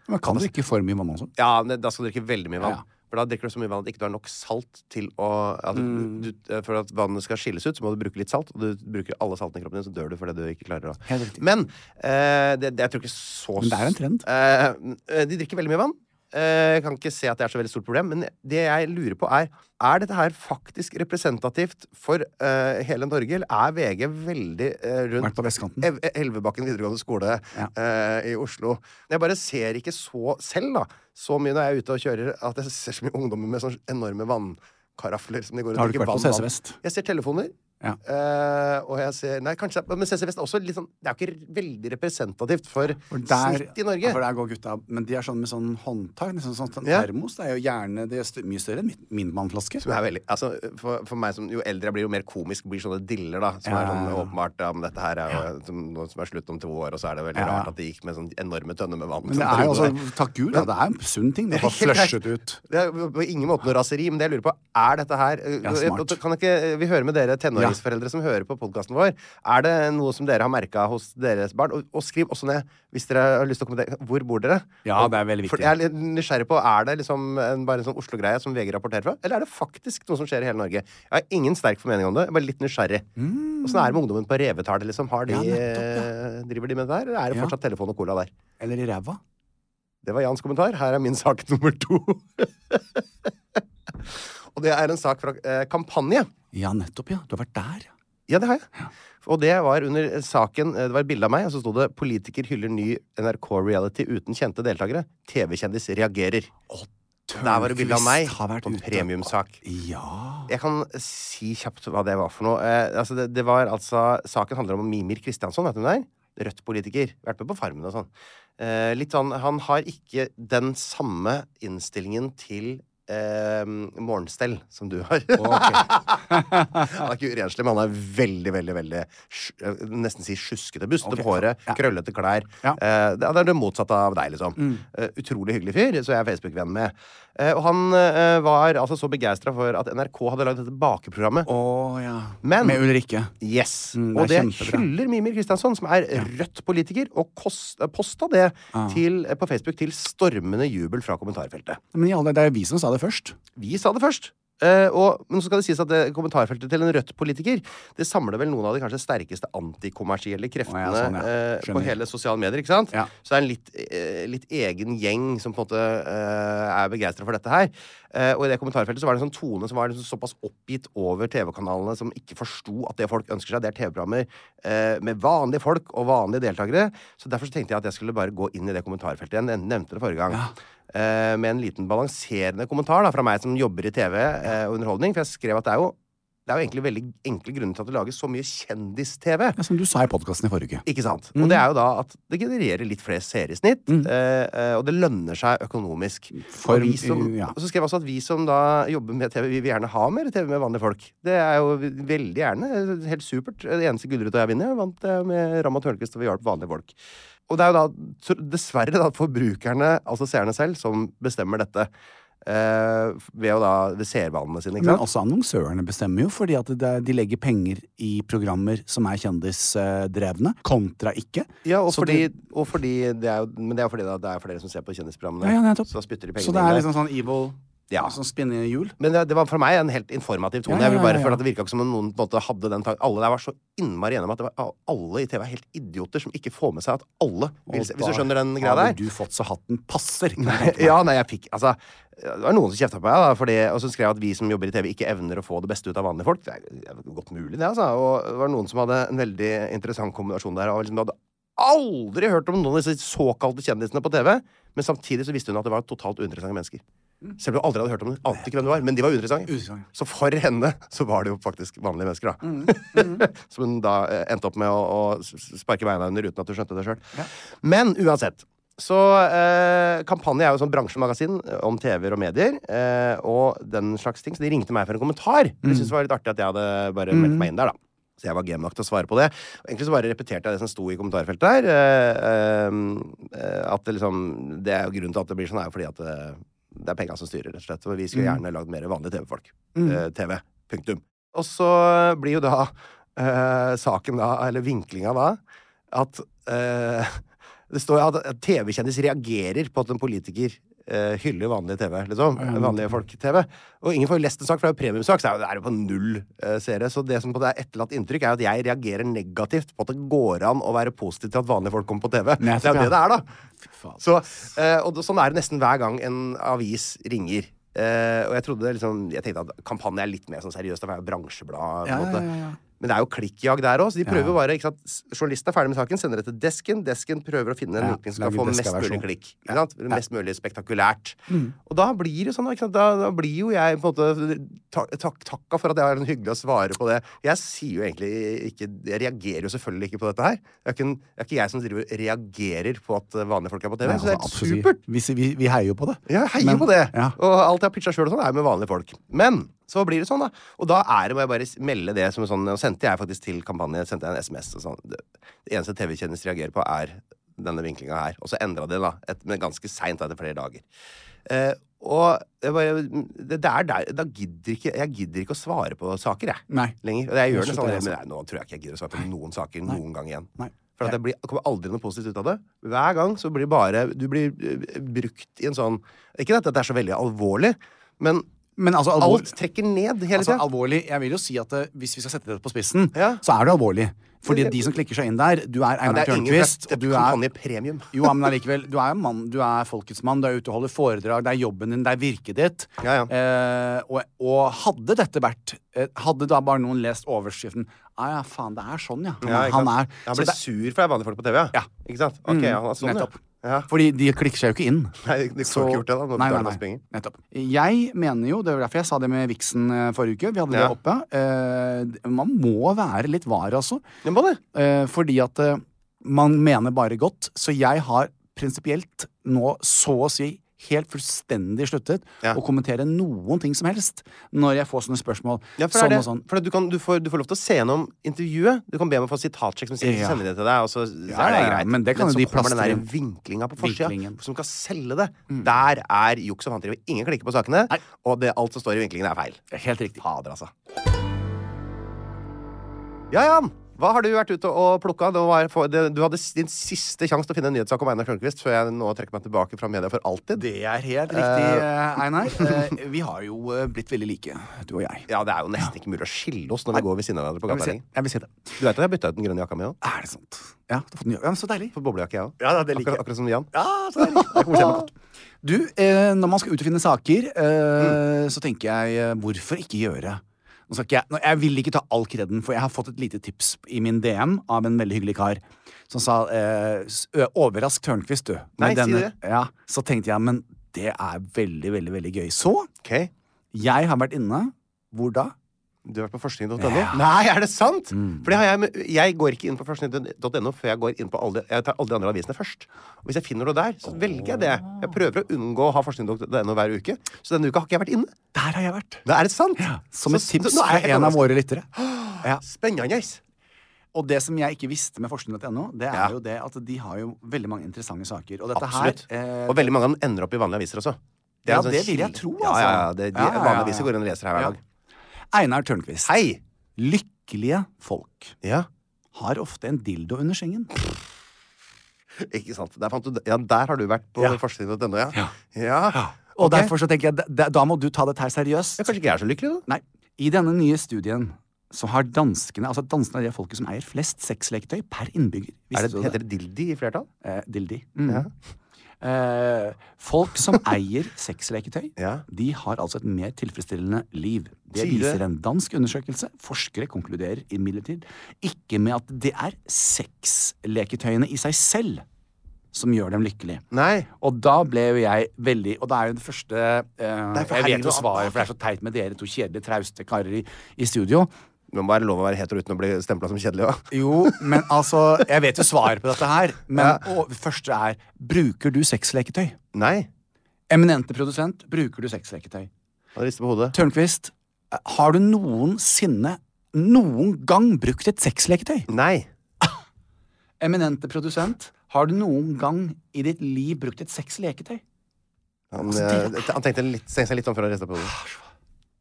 [SPEAKER 3] Men kan du ikke for mye vann også?
[SPEAKER 1] Ja, men da skal du drikke veldig mye vann.
[SPEAKER 3] Ja.
[SPEAKER 1] For da drikker du så mye vann at ikke du har nok salt til å at du,
[SPEAKER 3] Mm.
[SPEAKER 1] du, eh, For at vannet skal skilles ut, så må du bruke litt salt. Og du bruker alle saltene i kroppen din, så dør du fordi du ikke klarer å
[SPEAKER 3] Helt riktig.
[SPEAKER 1] Men eh, det, det, jeg tror ikke så
[SPEAKER 3] Men det er en trend.
[SPEAKER 1] Eh, de drikker veldig mye vann. Eh, Jeg kan ikke se at det er så veldig stort problem, men det jeg lurer på er Er dette her faktisk representativt for eh, hele Norge, eller er VG veldig eh,
[SPEAKER 3] Vært
[SPEAKER 1] rundt
[SPEAKER 3] på vestkanten.
[SPEAKER 1] Ev- Elvebakken videregående skole
[SPEAKER 3] Ja.
[SPEAKER 1] eh, i Oslo. Men jeg bare ser ikke så selv, da, så mye når jeg er ute og kjører, at jeg ser så mye ungdommer med sånne enorme vannkarafler som de går og
[SPEAKER 3] Har du ikke
[SPEAKER 1] drikker
[SPEAKER 3] vært på
[SPEAKER 1] vann av.
[SPEAKER 3] CC Vest?
[SPEAKER 1] Jeg ser telefoner.
[SPEAKER 3] Ja.
[SPEAKER 1] eh, og jeg ser Nei, kanskje det er- Men CC Vest er også litt sånn Det er jo ikke veldig representativt for, snitt i Norge.
[SPEAKER 3] Ja, for der går gutta, men de er sånn med sånn håndtak. Nesten sånn, sånn
[SPEAKER 1] Ja.
[SPEAKER 3] termos. Det er jo gjerne det er stø- mye større enn min- min vannflaske.
[SPEAKER 1] Som er veldig, altså, for, for meg som jo eldre jeg blir, jo mer komisk blir sånne diller, da. Som er sånn åpenbart ja, men dette her er jo som, noe som er slutt om to år, og så er det veldig
[SPEAKER 3] Ja.
[SPEAKER 1] rart at de gikk med sånn enorme tønner med vann.
[SPEAKER 3] Men det
[SPEAKER 1] [laughs] som
[SPEAKER 3] er jo
[SPEAKER 1] driver
[SPEAKER 3] altså, takk gud, da, det er en sunn ting. Det er bare
[SPEAKER 1] [laughs] Helt greit.
[SPEAKER 3] flushet ut.
[SPEAKER 1] Det er jo på ingen måte noe raseri, men det jeg lurer på, er dette her eh,
[SPEAKER 3] Ja, smart.
[SPEAKER 1] Kan ikke eh, vi høre med dere tenåringsforeldre som hører på podkasten vår? Er det noe som dere har merka hos deres barn? Og, og skriv også ned, hvis dere har lyst til å kommentere, hvor bor dere?
[SPEAKER 3] Ja,
[SPEAKER 1] Og-
[SPEAKER 3] det er veldig
[SPEAKER 1] For
[SPEAKER 3] viktig.
[SPEAKER 1] jeg er litt nysgjerrig på, er det liksom en, bare en sånn Oslo-greie som VG rapporterer fra? Eller er det faktisk noe som skjer i hele Norge? Jeg har ingen sterk formening om det, jeg er bare litt nysgjerrig.
[SPEAKER 3] Mm.
[SPEAKER 1] Åssen er det med ungdommen på Revetallet, liksom? Har de,
[SPEAKER 3] Ja, nettopp,
[SPEAKER 1] eh, Driver de med det der, eller er det
[SPEAKER 3] Ja.
[SPEAKER 1] fortsatt telefon og cola der?
[SPEAKER 3] Eller i ræva.
[SPEAKER 1] Det var Jans kommentar. Her er min sak [laughs] nummer to. og det er en sak fra eh, kampanje.
[SPEAKER 3] Ja, nettopp, ja. Du har vært der. ja.
[SPEAKER 1] Ja, det har jeg. Og det var under eh, saken eh, Det var et bilde av meg, og så sto det 'Politiker hyller ny NRK-reality uten kjente deltakere'. TV-kjendis reagerer. Der var det bilde av meg
[SPEAKER 3] Tørnquist har vært
[SPEAKER 1] på en
[SPEAKER 3] ute.
[SPEAKER 1] premiumsak.
[SPEAKER 3] Ja.
[SPEAKER 1] Jeg kan si kjapt hva det var for noe. Eh, altså det, det var altså, Saken handler om Mimir Kristiansson, vet du hvem det er? Rødt-politiker. Vært med på Farmen og sånn. Eh, litt sånn, Han har ikke den samme innstillingen til eh, morgenstell som du har. [laughs] han er ikke urenslig, men han er veldig, veldig veldig sj- jeg vil nesten si sjuskete. Bustete
[SPEAKER 3] Ok,
[SPEAKER 1] på håret,
[SPEAKER 3] ja.
[SPEAKER 1] krøllete klær.
[SPEAKER 3] Ja. Mm.
[SPEAKER 1] Eh, det det er det motsatte av deg, liksom. Eh, utrolig hyggelig fyr, så jeg er Facebook-venn med. Eh, og han eh, var altså så begeistra for at NRK hadde lagd dette bakeprogrammet.
[SPEAKER 3] Å ja.
[SPEAKER 1] Men-
[SPEAKER 3] Med Ulrikke.
[SPEAKER 1] Yes.
[SPEAKER 3] Mm, det
[SPEAKER 1] og det
[SPEAKER 3] er kjempebra.
[SPEAKER 1] hyller Mimir Kristiansson, som er rødt politiker, og kost, eh, posta det
[SPEAKER 3] Ah.
[SPEAKER 1] til, eh, på Facebook til stormende jubel fra kommentarfeltet.
[SPEAKER 3] Men i alle dager, det er jo vi som sa det først.
[SPEAKER 1] Vi sa det først. Eh, og, men så skal det sies at det, kommentarfeltet til en rødt politiker Det samler vel noen av de kanskje sterkeste antikommersielle kreftene
[SPEAKER 3] Å, ja, sånn, ja.
[SPEAKER 1] eh, på
[SPEAKER 3] Skjønner.
[SPEAKER 1] hele sosiale medier. ikke sant?
[SPEAKER 3] Ja.
[SPEAKER 1] Så det er en litt, eh, litt egen gjeng som på en måte eh, er begeistra for dette her. Eh, og i det kommentarfeltet så var det en sånn tone som var liksom såpass oppgitt over TV-kanalene som ikke forsto at det folk ønsker seg, det er TV-programmer eh, med vanlige folk og vanlige deltakere. Så derfor så tenkte jeg at jeg skulle bare gå inn i det kommentarfeltet igjen. Jeg nevnte det forrige gang. Eh, med en liten balanserende kommentar da, fra meg som jobber i TV eh, og underholdning. For jeg skrev at det er jo, det er jo egentlig veldig enkle grunner til at det lages så mye kjendis-TV.
[SPEAKER 3] Ja, som du sa i podkasten i forrige uke.
[SPEAKER 1] Ikke sant? Og det er jo da at det genererer litt flere seere i snitt, eh, eh, og det lønner seg økonomisk.
[SPEAKER 3] Mm. For-
[SPEAKER 1] og, vi som,
[SPEAKER 3] ja.
[SPEAKER 1] og så skrev jeg også at vi som da jobber med TV, vi vil gjerne ha mer TV med vanlige folk. Det er jo veldig gjerne eh, helt supert. Det eneste Gulrota jeg vinner, jeg vant jeg med Ramma Tørnquist, og vi hjalp vanlige folk. Og det er jo da tr- dessverre da forbrukerne, altså seerne selv, som bestemmer dette. eh, ved å da ved seervanene sine, ikke
[SPEAKER 3] Men altså,
[SPEAKER 1] sant?
[SPEAKER 3] også annonsørene bestemmer jo, fordi at det, de legger penger i programmer som er kjendisdrevne, kontra ikke.
[SPEAKER 1] Ja, og
[SPEAKER 3] Så
[SPEAKER 1] fordi,
[SPEAKER 3] det-
[SPEAKER 1] og fordi det er jo, Men det er jo fordi da, det er flere som ser på kjendisprogrammene.
[SPEAKER 3] Ja, ja, nettopp.
[SPEAKER 1] så da spytter de pengene
[SPEAKER 3] Så det
[SPEAKER 1] inn der.
[SPEAKER 3] er liksom sånn evil
[SPEAKER 1] Ja.
[SPEAKER 3] Sånn spinnehjul.
[SPEAKER 1] Men det, det var for meg en helt informativ tone.
[SPEAKER 3] Ja, ja,
[SPEAKER 1] Jeg vil bare
[SPEAKER 3] ja, ja.
[SPEAKER 1] føle at Det virka ikke som om noen på en måte hadde den tanken. Alle der var så innmari enige om at det var, alle i TV er helt idioter som ikke får med seg at alle vil se. Hvis du skjønner den greia
[SPEAKER 3] Hadde
[SPEAKER 1] [laughs] der?
[SPEAKER 3] du fått så hatten passer. kan
[SPEAKER 1] [laughs]
[SPEAKER 3] jeg tenke meg.
[SPEAKER 1] Ja, nei, jeg fikk Altså, det var noen som kjefta på meg, da, fordi, og så skrev jeg at vi som jobber i TV, ikke evner å få det beste ut av vanlige folk. Det er, det er godt mulig, det, altså. Og det var noen som hadde en veldig interessant kombinasjon der. Og liksom, du hadde aldri hørt om noen av disse såkalte kjendisene på TV, men samtidig så visste hun at det var totalt uinteressante mennesker. Selv om du aldri hadde hørt om dem, ante ikke hvem det var, men de var uinteressante.
[SPEAKER 3] Uinteressante.
[SPEAKER 1] Så for henne så var det jo faktisk vanlige mennesker, da. [laughs] Som hun da eh, endte opp med å, å s- s- sparke beina under uten at hun skjønte det sjøl. Men uansett. Så eh, Kampanje er jo sånn bransjemagasin om TV-er og medier. Eh, og den slags ting Så de ringte meg for en kommentar. De syntes det var litt artig at jeg hadde bare meldt meg inn der. da Så jeg var game nok til å svare på det. Og egentlig så bare repeterte jeg det som sto i kommentarfeltet der. eh, eh, at det liksom Det er jo grunnen til at det blir sånn, er jo fordi at det, det er penga som styrer, rett og slett. Og vi skulle gjerne lagd mer vanlige TV-folk. Eh, TV. Punktum. Og så blir jo da eh, saken da, eller vinklinga da, at eh, Det står jo at at TV-kjendis reagerer på at en politiker eh, hyller vanlige TV, liksom. Vanlige folk-TV. Og ingen får jo lest en sak, for det er jo premiumsak, så er jo- det er jo på null eh, seere. Så det som på det er etterlatt inntrykk, er jo at jeg reagerer negativt på at det går an å være positiv til at vanlige folk kommer på TV. det er jo
[SPEAKER 3] ja.
[SPEAKER 1] det det er, da. Så, eh, og det- sånn er det nesten hver gang en avis ringer. Eh, og jeg trodde liksom Jeg tenkte at kampanje er litt mer sånn seriøst, for det er jo bransjeblad. på en
[SPEAKER 3] Ja,
[SPEAKER 1] måte.
[SPEAKER 3] ja, ja, ja.
[SPEAKER 1] Men det er jo klikkjag der òg. De prøver jo bare, ikke sant? s- Journalisten er ferdig med saken, sender det til desken. Desken prøver å finne en
[SPEAKER 3] Ja,
[SPEAKER 1] vinkling som skal
[SPEAKER 3] lager
[SPEAKER 1] få mest
[SPEAKER 3] deska-versjon.
[SPEAKER 1] mulig klikk. Ikke sant? Mest mulig spektakulært.
[SPEAKER 3] Mm.
[SPEAKER 1] Og da blir det sånn, ikke sant? Da, da blir jo jeg på en måte ta- tak- Takka for at jeg har en hyggelig å svare på det. Jeg sier jo egentlig ikke Jeg reagerer jo selvfølgelig ikke på dette her. Det er ikke, en- det er ikke jeg som driver og reagerer på at vanlige folk er på TV.
[SPEAKER 3] Nei,
[SPEAKER 1] så det er
[SPEAKER 3] altså,
[SPEAKER 1] helt
[SPEAKER 3] absolutt.
[SPEAKER 1] supert.
[SPEAKER 3] Vi, vi, vi heier jo på det.
[SPEAKER 1] Ja, jeg heier
[SPEAKER 3] Men-
[SPEAKER 1] på det.
[SPEAKER 3] Ja.
[SPEAKER 1] Og alt jeg har pitcha sjøl og sånn, er jo med vanlige folk. Men så blir det sånn, da. Og da er det, må jeg bare s- melde det som en sånn Og sendte jeg faktisk til kampanje, sendte jeg en SMS og sånn. Det, det eneste TV-kjendis reagerer på, er denne vinklinga her. Og så endra de, da. Et, men ganske seint, etter flere dager. Eh, og jeg bare, det, det er der Da gidder ikke Jeg gidder ikke å svare på saker, jeg.
[SPEAKER 3] Nei.
[SPEAKER 1] Lenger. Og jeg gjør det
[SPEAKER 3] Jeg
[SPEAKER 1] sånn,
[SPEAKER 3] slutter,
[SPEAKER 1] men
[SPEAKER 3] altså.
[SPEAKER 1] nei, nå tror jeg ikke jeg gidder å svare på noen saker noen gang igjen.
[SPEAKER 3] Nei.
[SPEAKER 1] For at det blir, kommer aldri noe positivt ut av det. Hver gang så blir bare Du blir eh, brukt i en sånn Ikke at dette er så veldig alvorlig, men
[SPEAKER 3] Men altså, alvor,
[SPEAKER 1] alt trekker ned hele tida.
[SPEAKER 3] altså alvorlig Jeg vil jo si at eh, hvis vi skal sette dette på spissen,
[SPEAKER 1] Ja.
[SPEAKER 3] så er det alvorlig. Fordi de som klikker seg inn der Du er Einar
[SPEAKER 1] det er ingen
[SPEAKER 3] Tørnquist,
[SPEAKER 1] det
[SPEAKER 3] og
[SPEAKER 1] er
[SPEAKER 3] du er
[SPEAKER 1] kampanjepremium.
[SPEAKER 3] jo, men allikevel, Du er jo mann, du er folkets mann, du er ute og holder foredrag, det er jobben din, det er virket ditt.
[SPEAKER 1] Ja, ja.
[SPEAKER 3] Eh, og, og hadde dette vært eh, Hadde da bare noen lest overskriften Ja, ja, faen, det er sånn, ja. Han,
[SPEAKER 1] Ja,
[SPEAKER 3] er-
[SPEAKER 1] ikke
[SPEAKER 3] han
[SPEAKER 1] sant?
[SPEAKER 3] er
[SPEAKER 1] Han
[SPEAKER 3] så
[SPEAKER 1] ble
[SPEAKER 3] det-
[SPEAKER 1] sur for det er vanlige folk på TV, ja?
[SPEAKER 3] Ja. Mm,
[SPEAKER 1] Ikke sant? Ok, ja, han er sånn,
[SPEAKER 3] Nettopp.
[SPEAKER 1] ja. [laughs] ja.
[SPEAKER 3] Fordi de klikker seg jo ikke inn.
[SPEAKER 1] Nei, de får ikke gjort det da, når
[SPEAKER 3] nei,
[SPEAKER 1] du tar
[SPEAKER 3] nei,
[SPEAKER 1] masse
[SPEAKER 3] nei.
[SPEAKER 1] penger.
[SPEAKER 3] Nettopp. Jeg mener jo, det var derfor jeg sa det med Vixen eh, forrige uke, vi hadde
[SPEAKER 1] Ja.
[SPEAKER 3] det oppe, eh, man må være litt var, altså.
[SPEAKER 1] Ja, må det.
[SPEAKER 3] Eh, fordi at eh, man mener bare godt. Så jeg har prinsipielt nå så å si helt fullstendig sluttet
[SPEAKER 1] Ja.
[SPEAKER 3] å kommentere noen ting som helst når jeg får sånne spørsmål.
[SPEAKER 1] Ja, for, det er
[SPEAKER 3] sånn
[SPEAKER 1] det,
[SPEAKER 3] og sånn.
[SPEAKER 1] for det, du, kan, du, får, du får lov til å se gjennom intervjuet. Du kan be om å få sitatsjekk som sikkert
[SPEAKER 3] Ja.
[SPEAKER 1] sender det til deg. Og så, så
[SPEAKER 3] Ja,
[SPEAKER 1] er det
[SPEAKER 3] ja, ja,
[SPEAKER 1] greit.
[SPEAKER 3] men det kan jo
[SPEAKER 1] så
[SPEAKER 3] de
[SPEAKER 1] kommer den der
[SPEAKER 3] plastre-
[SPEAKER 1] vinklinga på forsida
[SPEAKER 3] Vinklingen. Mm.
[SPEAKER 1] som skal selge det. Der er juks og fanteri. og Ingen klikker på sakene,
[SPEAKER 3] Nei.
[SPEAKER 1] og det, alt som står i vinklingen, er feil.
[SPEAKER 3] sånn. Helt riktig.
[SPEAKER 1] Fader, altså. Ja, Jan. Hva har du vært ute og plukka? Det var, for- det, du hadde s- din siste sjanse til å finne en nyhetssak om Einar Tørnquist før jeg nå trekker meg tilbake fra media for alltid.
[SPEAKER 3] Det er helt riktig, eh,
[SPEAKER 1] [laughs]
[SPEAKER 3] Einar. Eh, vi har jo eh, blitt veldig like, du og jeg.
[SPEAKER 1] Ja, Det er jo nesten ikke mulig å skille oss når vi går ved siden av hverandre på
[SPEAKER 3] Jeg vil si,
[SPEAKER 1] gateterrenget.
[SPEAKER 3] jeg vil si det.
[SPEAKER 1] Du vet at jeg bytta ut den grønne jakka mi òg?
[SPEAKER 3] Er det sant? Ja, du har fått den, ja men Så deilig.
[SPEAKER 1] For boblejakke, jeg òg.
[SPEAKER 3] Ja, det liker jeg.
[SPEAKER 1] akkurat, akkurat som Jan.
[SPEAKER 3] Ja, så [laughs] deilig. Jeg koser meg godt. Du, eh, når man skal ut og finne saker,
[SPEAKER 1] Mm.
[SPEAKER 3] eh, så tenker jeg eh, hvorfor ikke gjøre nå skal ikke jeg, nå, jeg vil ikke ta all kreden, for jeg har fått et lite tips i min DM av en veldig hyggelig kar som sa eh, s- ø, 'Overrask Tørnquist, du'.
[SPEAKER 1] Nei,
[SPEAKER 3] med
[SPEAKER 1] si
[SPEAKER 3] denne-
[SPEAKER 1] det.
[SPEAKER 3] Ja, så tenkte jeg, men det er veldig, veldig, veldig gøy. Så
[SPEAKER 1] Ok.
[SPEAKER 3] jeg har vært inne. Hvor da?
[SPEAKER 1] Du har vært på forskning.no? Nei, er det sant?!
[SPEAKER 3] Mm.
[SPEAKER 1] For det har jeg, jeg går ikke inn på forskning.no før jeg går inn på alle, jeg tar alle de andre avisene først. Og hvis jeg finner noe der, så velger jeg det. Jeg prøver å unngå å ha forskning.no hver uke, så denne uka har ikke jeg vært inne.
[SPEAKER 3] Der har jeg vært.
[SPEAKER 1] Da er det sant! Så-
[SPEAKER 3] Som et tips
[SPEAKER 1] så- nå er
[SPEAKER 3] fra
[SPEAKER 1] jeg helt
[SPEAKER 3] en av
[SPEAKER 1] overrasket.
[SPEAKER 3] våre lyttere.
[SPEAKER 1] [gasps]
[SPEAKER 3] Ja.
[SPEAKER 1] Spennende!
[SPEAKER 3] Og det som jeg ikke visste med forskning.no, det er
[SPEAKER 1] Ja.
[SPEAKER 3] jo det at de har jo veldig mange interessante saker. Og dette
[SPEAKER 1] Absolutt.
[SPEAKER 3] her eh,
[SPEAKER 1] Og veldig mange av dem ender opp i vanlige aviser også. er
[SPEAKER 3] Ja,
[SPEAKER 1] en
[SPEAKER 3] det vil jeg
[SPEAKER 1] kilde-
[SPEAKER 3] tro,
[SPEAKER 1] Ja, ja, ja,
[SPEAKER 3] altså.
[SPEAKER 1] det, de,
[SPEAKER 3] Ja, ja, ja,
[SPEAKER 1] Vanlige
[SPEAKER 3] ja.
[SPEAKER 1] aviser går inn og leser her hver
[SPEAKER 3] Ja.
[SPEAKER 1] dag.
[SPEAKER 3] Einar Tørnquist.
[SPEAKER 1] Hei!
[SPEAKER 3] Lykkelige folk
[SPEAKER 1] Ja,
[SPEAKER 3] har ofte en dildo under sengen.
[SPEAKER 1] ikke sant. Der, fant du, ja, der har du vært på
[SPEAKER 3] Ja.
[SPEAKER 1] forskning.no, ja.
[SPEAKER 3] Ja.
[SPEAKER 1] ja.
[SPEAKER 3] Og
[SPEAKER 1] Ok.
[SPEAKER 3] derfor så tenker jeg, da- da, da må du ta dette her seriøst.
[SPEAKER 1] Ja, Kanskje ikke jeg er så lykkelig, da.
[SPEAKER 3] Nei. I denne nye studien så har danskene Altså danskene er det folket som eier flest sexleketøy per innbygger.
[SPEAKER 1] Er
[SPEAKER 3] Visste
[SPEAKER 1] det,
[SPEAKER 3] du
[SPEAKER 1] heter det dildi i flertall?
[SPEAKER 3] Eh, dildi. Mm. Eh, folk [laughs] som eier sexleketøy,
[SPEAKER 1] Ja.
[SPEAKER 3] de har altså et mer tilfredsstillende liv. Det
[SPEAKER 1] Sier du det?
[SPEAKER 3] viser en dansk undersøkelse. Forskere konkluderer imidlertid ikke med at det er sexleketøyene i seg selv som gjør dem lykkelige.
[SPEAKER 1] Nei.
[SPEAKER 3] Og da ble jo jeg veldig Og da er jo den første eh,
[SPEAKER 1] for
[SPEAKER 3] Jeg
[SPEAKER 1] herregud,
[SPEAKER 3] vet jo
[SPEAKER 1] hva-
[SPEAKER 3] svaret, for det er så teit med dere to kjedelige, trauste karer i, i studio.
[SPEAKER 1] Det må være lov å være hetero uten å bli stempla som kjedelig òg.
[SPEAKER 3] Jo, men altså Jeg vet jo svaret på dette her. Men og, det første er Bruker du sexleketøy?
[SPEAKER 1] Nei.
[SPEAKER 3] Eminente produsent, bruker du sexleketøy?
[SPEAKER 1] Han rister på hodet.
[SPEAKER 3] Tørnquist, har du noensinne noen gang brukt et sexleketøy?
[SPEAKER 1] Nei.
[SPEAKER 3] Eminente produsent, har du noen gang i ditt liv brukt et sexleketøy?
[SPEAKER 1] Han,
[SPEAKER 3] altså,
[SPEAKER 1] eh, han tenkte, litt, tenkte seg litt om før han reiste på hodet.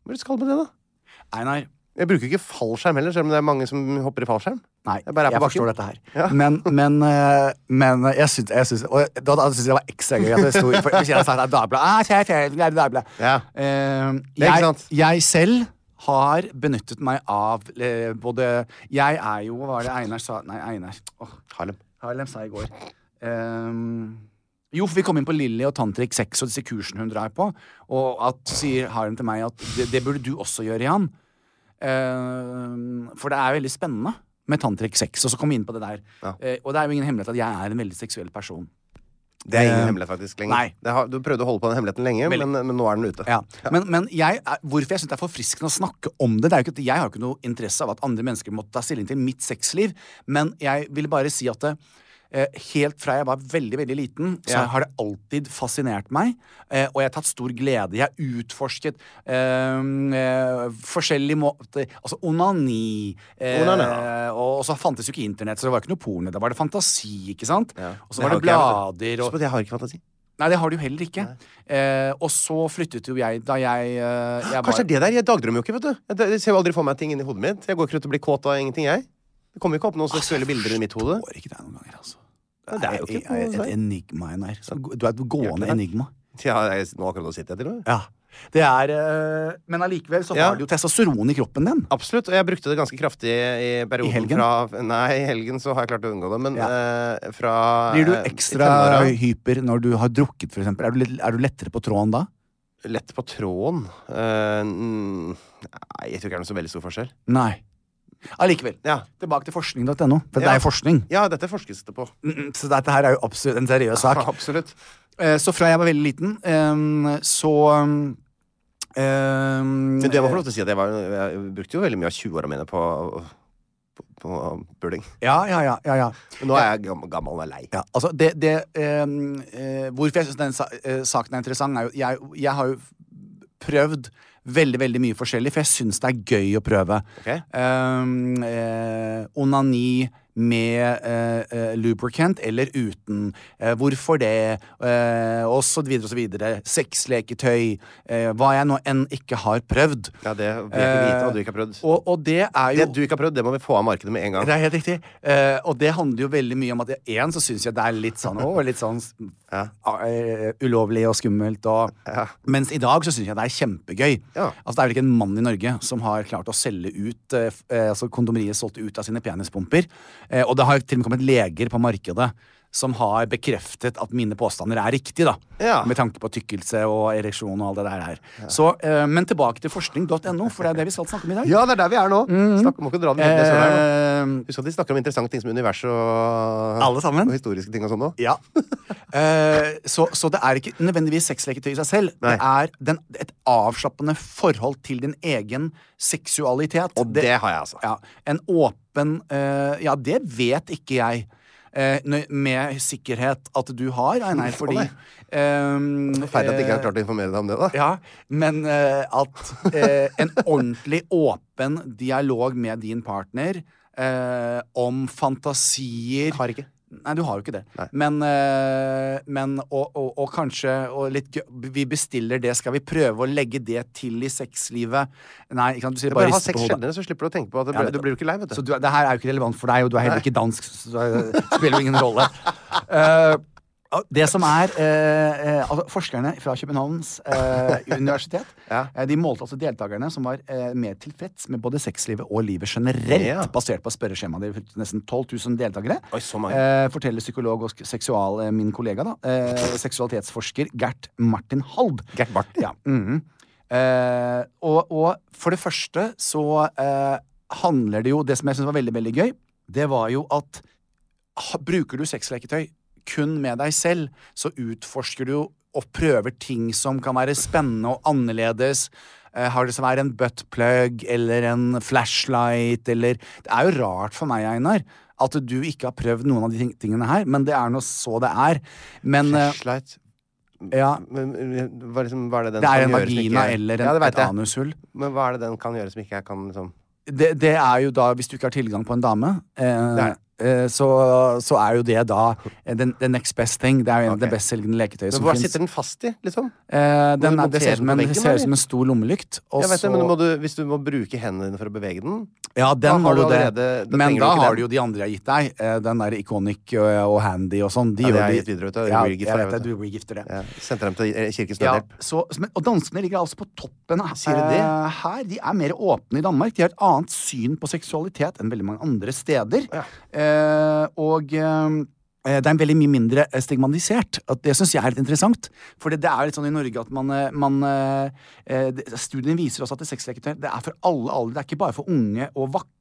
[SPEAKER 1] Hva er det skal med det, da?
[SPEAKER 3] Einar,
[SPEAKER 1] Jeg bruker ikke fallskjerm heller, selv om det er mange som hopper i fallskjerm.
[SPEAKER 3] Nei,
[SPEAKER 1] Jeg
[SPEAKER 3] jeg,
[SPEAKER 1] bare er på bakken.
[SPEAKER 3] forstår dette her. Men, men, eh, men jeg syns, jeg syns Og da, da syns jeg det var ekstra gøy at det sto for Hvis jeg hadde sagt at Dagbladet ah, kjære, kjære, kjære Dagbladet.
[SPEAKER 1] Ja.
[SPEAKER 3] Eh,
[SPEAKER 1] er ikke
[SPEAKER 3] jeg,
[SPEAKER 1] sant.
[SPEAKER 3] jeg selv har benyttet meg av eh, både Jeg er jo Hva var det Einar sa? Nei, Einar. Åh,
[SPEAKER 1] Harlem.
[SPEAKER 3] Harlem sa i går. Ehm, jo, for vi kom inn på Lilly og Tantrik 6 og disse kursene hun drar på. Og at, så sier Harlem til meg at det, det burde du også gjøre, Jan. Ehm, for det er veldig spennende med Tantrik 6. Og så kom vi inn på det der.
[SPEAKER 1] Ja.
[SPEAKER 3] Eh, og det er jo ingen hemmelighet at jeg er en veldig seksuell person.
[SPEAKER 1] Det er ingen
[SPEAKER 3] Eh,
[SPEAKER 1] hemmelighet faktisk lenger.
[SPEAKER 3] nei.
[SPEAKER 1] Det har, du prøvde å holde på den hemmeligheten lenge,
[SPEAKER 3] Veldig.
[SPEAKER 1] men, men nå er den ute.
[SPEAKER 3] Ja. Men, men jeg, er- hvorfor jeg syns det er forfriskende å snakke om det, det er jo ikke at jeg har ikke noe interesse av at andre mennesker måtte ta stilling til mitt sexliv, men jeg vil bare si at det, eh, helt fra jeg var veldig veldig liten, så
[SPEAKER 1] Ja.
[SPEAKER 3] har det alltid fascinert meg. eh, Og jeg har tatt stor glede. Jeg har utforsket eh, eh, forskjellige måter Altså onani. eh,
[SPEAKER 1] Onani, ja.
[SPEAKER 3] og, og så fantes jo ikke internett, så det var ikke noe porno. Da var det fantasi, ikke sant? Og så
[SPEAKER 1] Det
[SPEAKER 3] var
[SPEAKER 1] har
[SPEAKER 3] det
[SPEAKER 1] ikke jeg, vet du.
[SPEAKER 3] blader og
[SPEAKER 1] Husk på at jeg har ikke fantasi.
[SPEAKER 3] Nei, det har du heller ikke. Eh, og så flyttet jo jeg da jeg, eh, jeg
[SPEAKER 1] Kanskje det er det der? Jeg dagdrømmer jo ikke, vet du. Jeg, jeg ser jo aldri for meg ting inni hodet mitt. Jeg går ikke rundt og blir kåt av ingenting, jeg. Det kommer ikke opp noen seksuelle bilder i mitt hode.
[SPEAKER 3] Går ikke deg noen ganger, altså.
[SPEAKER 1] Ja, det er jo ikke
[SPEAKER 3] Jeg- jeg-
[SPEAKER 1] noe-
[SPEAKER 3] et enigma, Einar. Så Du er et gående
[SPEAKER 1] det.
[SPEAKER 3] enigma.
[SPEAKER 1] Ja, jeg, nå akkurat nå sitter jeg til og med.
[SPEAKER 3] Ja. Det er eh, Men allikevel så
[SPEAKER 1] Ja.
[SPEAKER 3] har du jo testosteron i kroppen din.
[SPEAKER 1] Absolutt, og jeg brukte det ganske kraftig i perioden
[SPEAKER 3] I helgen?
[SPEAKER 1] fra Nei, i helgen så har jeg klart å unngå det, men eh, fra
[SPEAKER 3] Blir du
[SPEAKER 1] eh, i
[SPEAKER 3] ekstra
[SPEAKER 1] tenåra-
[SPEAKER 3] hyper når du har drukket, for eksempel? Er du, litt- er du lettere på tråden da?
[SPEAKER 1] Lett på tråden. Eh, mm, nei, jeg tror ikke det er noe så veldig stor forskjell.
[SPEAKER 3] Nei. Allikevel.
[SPEAKER 1] Ja.
[SPEAKER 3] Tilbake til forskning.no. For det
[SPEAKER 1] Ja.
[SPEAKER 3] er jo forskning.
[SPEAKER 1] Ja, dette forskes det på.
[SPEAKER 3] Mm, mm, Så dette her er jo absolutt en seriøs sak.
[SPEAKER 1] Absolutt.
[SPEAKER 3] Eh, Så fra jeg var veldig liten, eh, så ehm,
[SPEAKER 1] Men
[SPEAKER 3] Men
[SPEAKER 1] du, jeg må få lov til å si at jeg, var, jeg brukte jo veldig mye av 20-åra mine på, på, på puling.
[SPEAKER 3] Ja, ja, ja. ja, ja.
[SPEAKER 1] Men nå er jeg gam- gammel og lei.
[SPEAKER 3] ja altså, det, det ehm, eh, Hvorfor jeg syns den sa eh, saken er interessant, er jo jeg, jeg har jo prøvd veldig, veldig mye forskjellig, for jeg syns det er gøy å prøve.
[SPEAKER 1] Ok.
[SPEAKER 3] Ehm, eh, onani med eh, eh, lubricant eller uten. Eh, hvorfor det? Eh, og så videre og så videre. Sexleketøy. Eh, hva jeg nå enn ikke har prøvd. Eh,
[SPEAKER 1] Ja, det vil jeg ikke vite hva du ikke har prøvd.
[SPEAKER 3] Og, og det er jo
[SPEAKER 1] Det du ikke har prøvd, Eh, det må vi få av markedet med en gang.
[SPEAKER 3] Det er helt riktig. Eh, og det handler jo veldig mye om at én så syns jeg det er litt sånn «Åh», litt sånn s- eh, ulovlig og skummelt og Mens i dag så syns jeg det er kjempegøy.
[SPEAKER 1] Ja.
[SPEAKER 3] Altså Det er vel ikke en mann i Norge som har klart å selge ut eh, f- eh, Altså kondomeriet solgt ut av sine penispumper. Eh, og det har til og med kommet leger på markedet som har bekreftet at mine påstander er riktige, da.
[SPEAKER 1] Ja.
[SPEAKER 3] Med tanke på tykkelse og ereksjon og alt det der her. Så, eh, men tilbake til forskning.no, for det er det vi skal snakke om i dag.
[SPEAKER 1] Ja, det er der vi er nå! Snakk, må ikke dra den helt ned søren her nå.
[SPEAKER 3] Eh,
[SPEAKER 1] Husk at de snakker om interessante ting som universet og
[SPEAKER 3] Alle sammen?
[SPEAKER 1] Og historiske ting og sånn òg.
[SPEAKER 3] Ja. [laughs] Eh, så, så det er ikke nødvendigvis sexleketøy i seg selv.
[SPEAKER 1] Nei.
[SPEAKER 3] Det er den, et avslappende forhold til din egen seksualitet.
[SPEAKER 1] Og det har jeg, altså.
[SPEAKER 3] Ja, en åpen eh, Ja, det vet ikke jeg. eh, nø- med sikkerhet at du har, Einar, fordi
[SPEAKER 1] nei.
[SPEAKER 3] um,
[SPEAKER 1] Feil at jeg ikke har klart å informere deg om det, da.
[SPEAKER 3] ja, men eh, at eh, en ordentlig åpen dialog med din partner eh, om fantasier
[SPEAKER 1] Har ikke.
[SPEAKER 3] Nei, du har jo ikke det.
[SPEAKER 1] Nei.
[SPEAKER 3] Men, eh, men og, og, og kanskje og litt gøy, Vi bestiller det. Skal vi prøve å legge det til i sexlivet? Nei, ikke sant? du sier
[SPEAKER 1] Bare
[SPEAKER 3] bare
[SPEAKER 1] ha
[SPEAKER 3] rister
[SPEAKER 1] sex
[SPEAKER 3] på hodet.
[SPEAKER 1] sjeldnere, så slipper du å tenke på at det,
[SPEAKER 3] Ja,
[SPEAKER 1] ble- du blir jo ikke lei, vet du.
[SPEAKER 3] Så du, det her er jo ikke relevant for deg, og du er heller ikke dansk, så det spiller jo ingen rolle. Eh, det som er eh, eh, altså Forskerne fra Københavns eh, universitet
[SPEAKER 1] Ja.
[SPEAKER 3] eh, De målte altså deltakerne som var eh, mer tilfreds med både sexlivet og livet generelt,
[SPEAKER 1] Ja.
[SPEAKER 3] basert på spørreskjemaet. De fulgte nesten 12 000 deltakere.
[SPEAKER 1] Oi, så mange.
[SPEAKER 3] Eh, forteller psykolog og sk- seksual, eh, min kollega, da, eh, seksualitetsforsker Gert Martin Hald.
[SPEAKER 1] Gert Barth,
[SPEAKER 3] Ja. mhm. eh, og, og for det første så eh, handler det jo Det som jeg syns var veldig, veldig gøy, det var jo at ha, bruker du sexleketøy kun med deg selv, så utforsker du og prøver ting som kan være spennende og annerledes. Eh, har det som er en buttplug eller en flashlight eller Det er jo rart for meg, Einar, at du ikke har prøvd noen av de ting- tingene her, men det er nå så det er. Men eh,
[SPEAKER 1] Flashlight
[SPEAKER 3] ja,
[SPEAKER 1] men, men, hva, liksom, hva er det den
[SPEAKER 3] det
[SPEAKER 1] kan
[SPEAKER 3] er en
[SPEAKER 1] gjøre som
[SPEAKER 3] vagina
[SPEAKER 1] ikke-
[SPEAKER 3] eller en,
[SPEAKER 1] ja, det vet
[SPEAKER 3] et
[SPEAKER 1] jeg.
[SPEAKER 3] anushull.
[SPEAKER 1] Men hva er det den kan gjøre som ikke jeg kan liksom
[SPEAKER 3] det, det er jo da, hvis du ikke har tilgang på en dame, eh,
[SPEAKER 1] Nei.
[SPEAKER 3] eh, så, så er jo det da eh, den, the next best thing. Det er jo en av
[SPEAKER 1] Ok.
[SPEAKER 3] det bestselgende leketøyet
[SPEAKER 1] Men
[SPEAKER 3] som
[SPEAKER 1] hva
[SPEAKER 3] fins.
[SPEAKER 1] sitter den fast i, liksom?
[SPEAKER 3] Eh, den
[SPEAKER 1] Må
[SPEAKER 3] er,
[SPEAKER 1] du
[SPEAKER 3] det
[SPEAKER 1] montere
[SPEAKER 3] ser ut
[SPEAKER 1] den
[SPEAKER 3] som
[SPEAKER 1] på
[SPEAKER 3] en,
[SPEAKER 1] veggen,
[SPEAKER 3] ser ut
[SPEAKER 1] eller?
[SPEAKER 3] som en stor lommelykt. Og
[SPEAKER 1] Jeg vet det,
[SPEAKER 3] så,
[SPEAKER 1] men må du, Hvis du må bruke hendene dine for å bevege den
[SPEAKER 3] ja,
[SPEAKER 1] da har
[SPEAKER 3] den har du
[SPEAKER 1] du
[SPEAKER 3] det.
[SPEAKER 1] allerede- da
[SPEAKER 3] men
[SPEAKER 1] trenger du
[SPEAKER 3] da
[SPEAKER 1] ikke den.
[SPEAKER 3] har du jo de andre jeg har gitt deg. Eh, den der Iconic og, og Handy og sånn. De
[SPEAKER 1] Ja, det har
[SPEAKER 3] gjør
[SPEAKER 1] jeg
[SPEAKER 3] de-
[SPEAKER 1] gitt videre, vet du.
[SPEAKER 3] Ja,
[SPEAKER 1] Regifter,
[SPEAKER 3] jeg
[SPEAKER 1] jeg
[SPEAKER 3] vet
[SPEAKER 1] vet
[SPEAKER 3] det. Du regifter det.
[SPEAKER 1] ja, Sendte dem til eh, Kirkens
[SPEAKER 3] Ja,
[SPEAKER 1] Nødhjelp.
[SPEAKER 3] så, men, og danskene ligger altså på toppen her.
[SPEAKER 1] Sier du det?
[SPEAKER 3] Eh, her. De er mer åpne i Danmark. De har et annet syn på seksualitet enn veldig mange andre steder. Eh, og eh, det er veldig mye mindre eh, stigmatisert. At det syns jeg er litt interessant. For det, det er litt sånn i Norge at man, eh, man eh, eh, det- Studien viser også at det sexleketøy det er for alle aldre. Det er ikke bare for unge og vakre,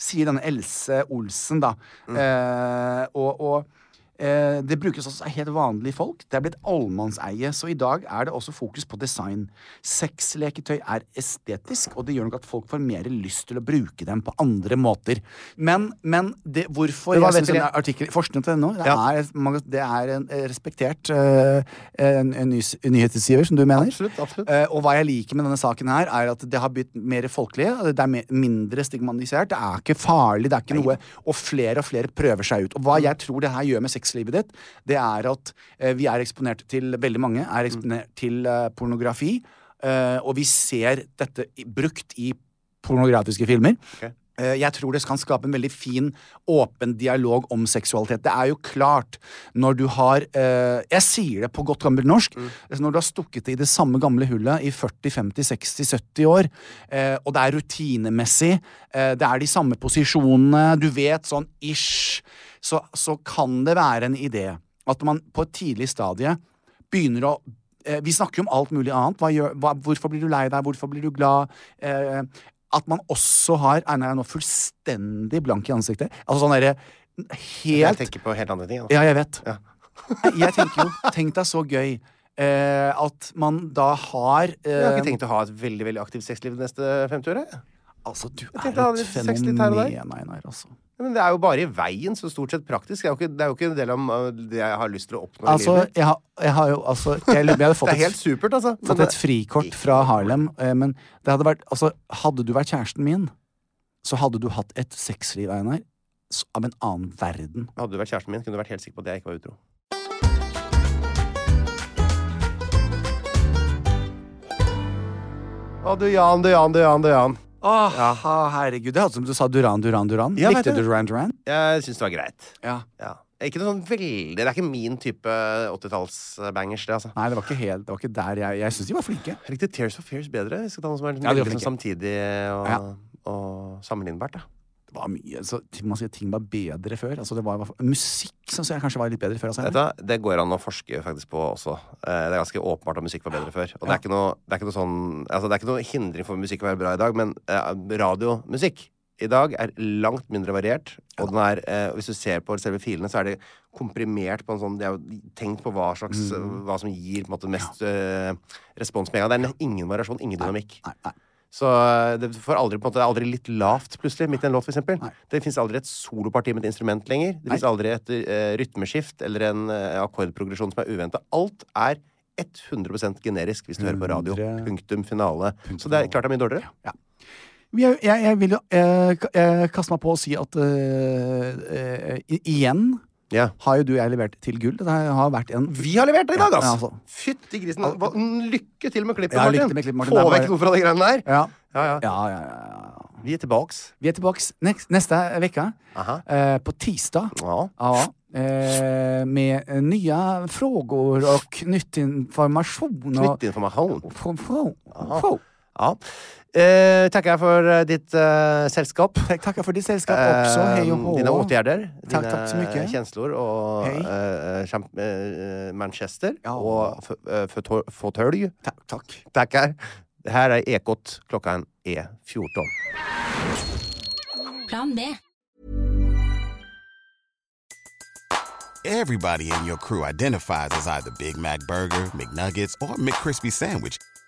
[SPEAKER 3] sier denne Else Olsen, da.
[SPEAKER 1] Mm.
[SPEAKER 3] Eh, og, og Eh, Det brukes også av helt vanlige folk. Det er blitt allmannseie, så i dag er det også fokus på design. Sexleketøy er estetisk, og det gjør nok at folk får mer lyst til å bruke dem på andre måter. Men, men det, hvorfor
[SPEAKER 1] Men hva
[SPEAKER 3] jeg
[SPEAKER 1] vet
[SPEAKER 3] synes
[SPEAKER 1] dere-
[SPEAKER 3] denne artikkelen- Forskning til NO, det,
[SPEAKER 1] Ja.
[SPEAKER 3] er, mange- det er en eh, respektert eh, en, en nys- nyhetsgiver, som du mener.
[SPEAKER 1] Absolutt, absolutt.
[SPEAKER 3] Eh, og hva jeg liker med denne saken her, er at det har blitt mer folkelig. Det er me- mindre stigmatisert. Det er ikke farlig. det er ikke noe, Og flere og flere prøver seg ut. Og
[SPEAKER 1] Mm.
[SPEAKER 3] hva jeg tror det her gjør med sexlivet ditt, det er at eh, vi er eksponert til veldig mange er
[SPEAKER 1] Mm.
[SPEAKER 3] eksponert til eh, pornografi. eh, og vi ser dette i, brukt i pornografiske filmer. Eh, Jeg tror det kan skape en veldig fin, åpen dialog om seksualitet. Det er jo klart, når du har eh, Jeg sier det på godt gammelt norsk. altså Når du har stukket det i det samme gamle hullet i 40-50-60-70 år, eh, og det er rutinemessig, eh, det er de samme posisjonene, du vet sånn ish, så, så kan det være en idé at man på et tidlig stadie begynner å eh, Vi snakker jo om alt mulig annet. Hva gjør, hva, hvorfor blir du lei deg? Hvorfor blir du glad? Eh, at man også har Einar er nå fullstendig blank i ansiktet. Altså sånn derre
[SPEAKER 1] Jeg
[SPEAKER 3] helt
[SPEAKER 1] tenker på helt andre ting. jeg, da.
[SPEAKER 3] Ja, jeg vet.
[SPEAKER 1] Ja.
[SPEAKER 3] Nei, jeg tenker jo Tenk deg så gøy eh, at man da har
[SPEAKER 1] Jeg har ikke
[SPEAKER 3] eh,
[SPEAKER 1] tenkt å ha et veldig veldig aktivt sexliv de neste 50 åra. jeg.
[SPEAKER 3] Altså, du
[SPEAKER 1] tenkte jeg
[SPEAKER 3] er
[SPEAKER 1] hadde
[SPEAKER 3] et
[SPEAKER 1] litt sex litt her og
[SPEAKER 3] fenomen,
[SPEAKER 1] der.
[SPEAKER 3] Einar, altså.
[SPEAKER 1] Men det er jo bare i veien, så stort sett praktisk. Det er jo ikke, det er jo ikke en del av eh, det jeg har lyst til å oppnå
[SPEAKER 3] Altså,
[SPEAKER 1] i livet.
[SPEAKER 3] jeg har, jeg har jo altså Jeg lurer på om jeg hadde
[SPEAKER 1] Det
[SPEAKER 3] fått
[SPEAKER 1] er
[SPEAKER 3] et
[SPEAKER 1] helt supert, altså. Men
[SPEAKER 3] fått et
[SPEAKER 1] det-
[SPEAKER 3] frikort fra Harlem, eh, men det hadde vært Altså, hadde du vært kjæresten min, så hadde du hatt et sexliv, Einar, s- av en annen verden.
[SPEAKER 1] Hadde du vært kjæresten min, kunne du vært helt sikker på at jeg ikke var utro. Å, du Jan, du Jan, du Jan, du Jan.
[SPEAKER 3] Åh, herregud. Det hadde som du sa Duran, Duran, Duran.
[SPEAKER 1] Ja, vet
[SPEAKER 3] Likte
[SPEAKER 1] du.
[SPEAKER 3] du Duran, Duran?
[SPEAKER 1] Jeg syns det var greit.
[SPEAKER 3] Ja.
[SPEAKER 1] Ja. Ikke noe sånn veldig Det er ikke min type 80-tallsbangers, det, altså.
[SPEAKER 3] Nei, det var ikke helt Det var ikke der jeg Jeg syns de var flinke.
[SPEAKER 1] Jeg likte Tears for Fears bedre. Vi skal ta noe som er litt
[SPEAKER 3] Ja, det gjør
[SPEAKER 1] veldig
[SPEAKER 3] vi
[SPEAKER 1] sånn samtidig og,
[SPEAKER 3] Ja.
[SPEAKER 1] og sammenlignbart. Da.
[SPEAKER 3] Det var mye så, ting- Man sier ting var bedre før. Altså, det var, i hvert fall- musikk syns jeg kanskje var litt bedre før. Altså,
[SPEAKER 1] Vet du, hva? det går an å forske faktisk på også. Eh, Det er ganske åpenbart at musikk var bedre før. Og det er ikke noe, det er ikke noe sånn altså, Det er ikke noe hindring for musikk å være bra i dag, men eh, radiomusikk i dag er langt mindre variert. Og den er, eh, hvis du ser på selve filene, så er det komprimert på en sånn De har jo tenkt på hva slags
[SPEAKER 3] Mm.
[SPEAKER 1] Hva som gir på en måte mest eh, respons med en gang. Det er ingen variasjon, ingen dynamikk.
[SPEAKER 3] Nei, nei.
[SPEAKER 1] Så eh, det, får aldri, på en måte, det er aldri litt lavt plutselig, midt i en låt, for eksempel. Det fins aldri et soloparti med et instrument lenger. Det fins aldri et eh, rytmeskift eller en eh, akkordprogresjon som er uventa. Alt er 100 generisk hvis du hører på radio.
[SPEAKER 3] 100
[SPEAKER 1] Punktum finale. Så det er klart det er mye dårligere.
[SPEAKER 3] Jeg, jeg, jeg vil jo eh, ka- eh, kaste meg på å si at eh, eh, i- igjen
[SPEAKER 1] Ja.
[SPEAKER 3] har jo du og jeg levert til gull. Det her har vært en
[SPEAKER 1] Vi har levert det i dag,
[SPEAKER 3] Ja,
[SPEAKER 1] ass!
[SPEAKER 3] altså.
[SPEAKER 1] Fytti grisen. Hva- Lykke til med klippet,
[SPEAKER 3] Ja, lykke
[SPEAKER 1] Martin.
[SPEAKER 3] til med klippet,
[SPEAKER 1] Få
[SPEAKER 3] Martin. Det er
[SPEAKER 1] vekk
[SPEAKER 3] bare-
[SPEAKER 1] noe fra de greiene der.
[SPEAKER 3] Ja.
[SPEAKER 1] Ja, ja.
[SPEAKER 3] Ja, ja, ja, ja.
[SPEAKER 1] Vi er tilbakes.
[SPEAKER 3] Vi er tilbake neste uke,
[SPEAKER 1] Aha.
[SPEAKER 3] eh, på tisdag.
[SPEAKER 1] Ja.
[SPEAKER 3] Ja, eh, med eh, nye frågor och nytt information.
[SPEAKER 1] Knytt informasjon.
[SPEAKER 3] Frå, frå,
[SPEAKER 1] Aha.
[SPEAKER 3] frå.
[SPEAKER 1] Ja. Eh, takker jeg for eh, ditt eh, selskap.
[SPEAKER 3] Tack, tackar för ditt sällskap också. Hej och
[SPEAKER 1] Eh,
[SPEAKER 3] hå.
[SPEAKER 1] Dine åtgärder,
[SPEAKER 3] Tack,
[SPEAKER 1] dine
[SPEAKER 3] tack så mycket.
[SPEAKER 1] känslor och
[SPEAKER 3] Hej.
[SPEAKER 1] eh, champ- eh, Manchester
[SPEAKER 3] Ja.
[SPEAKER 1] och f- eh, fåtö- fåtölj.
[SPEAKER 3] Tack, tack.
[SPEAKER 1] Tackar. Det här är Ekot. Klockan är 14.
[SPEAKER 5] Plan B.
[SPEAKER 6] Everybody in your crew identifies as either Big Mac Burger, McNuggets, or McCrispy Sandwich.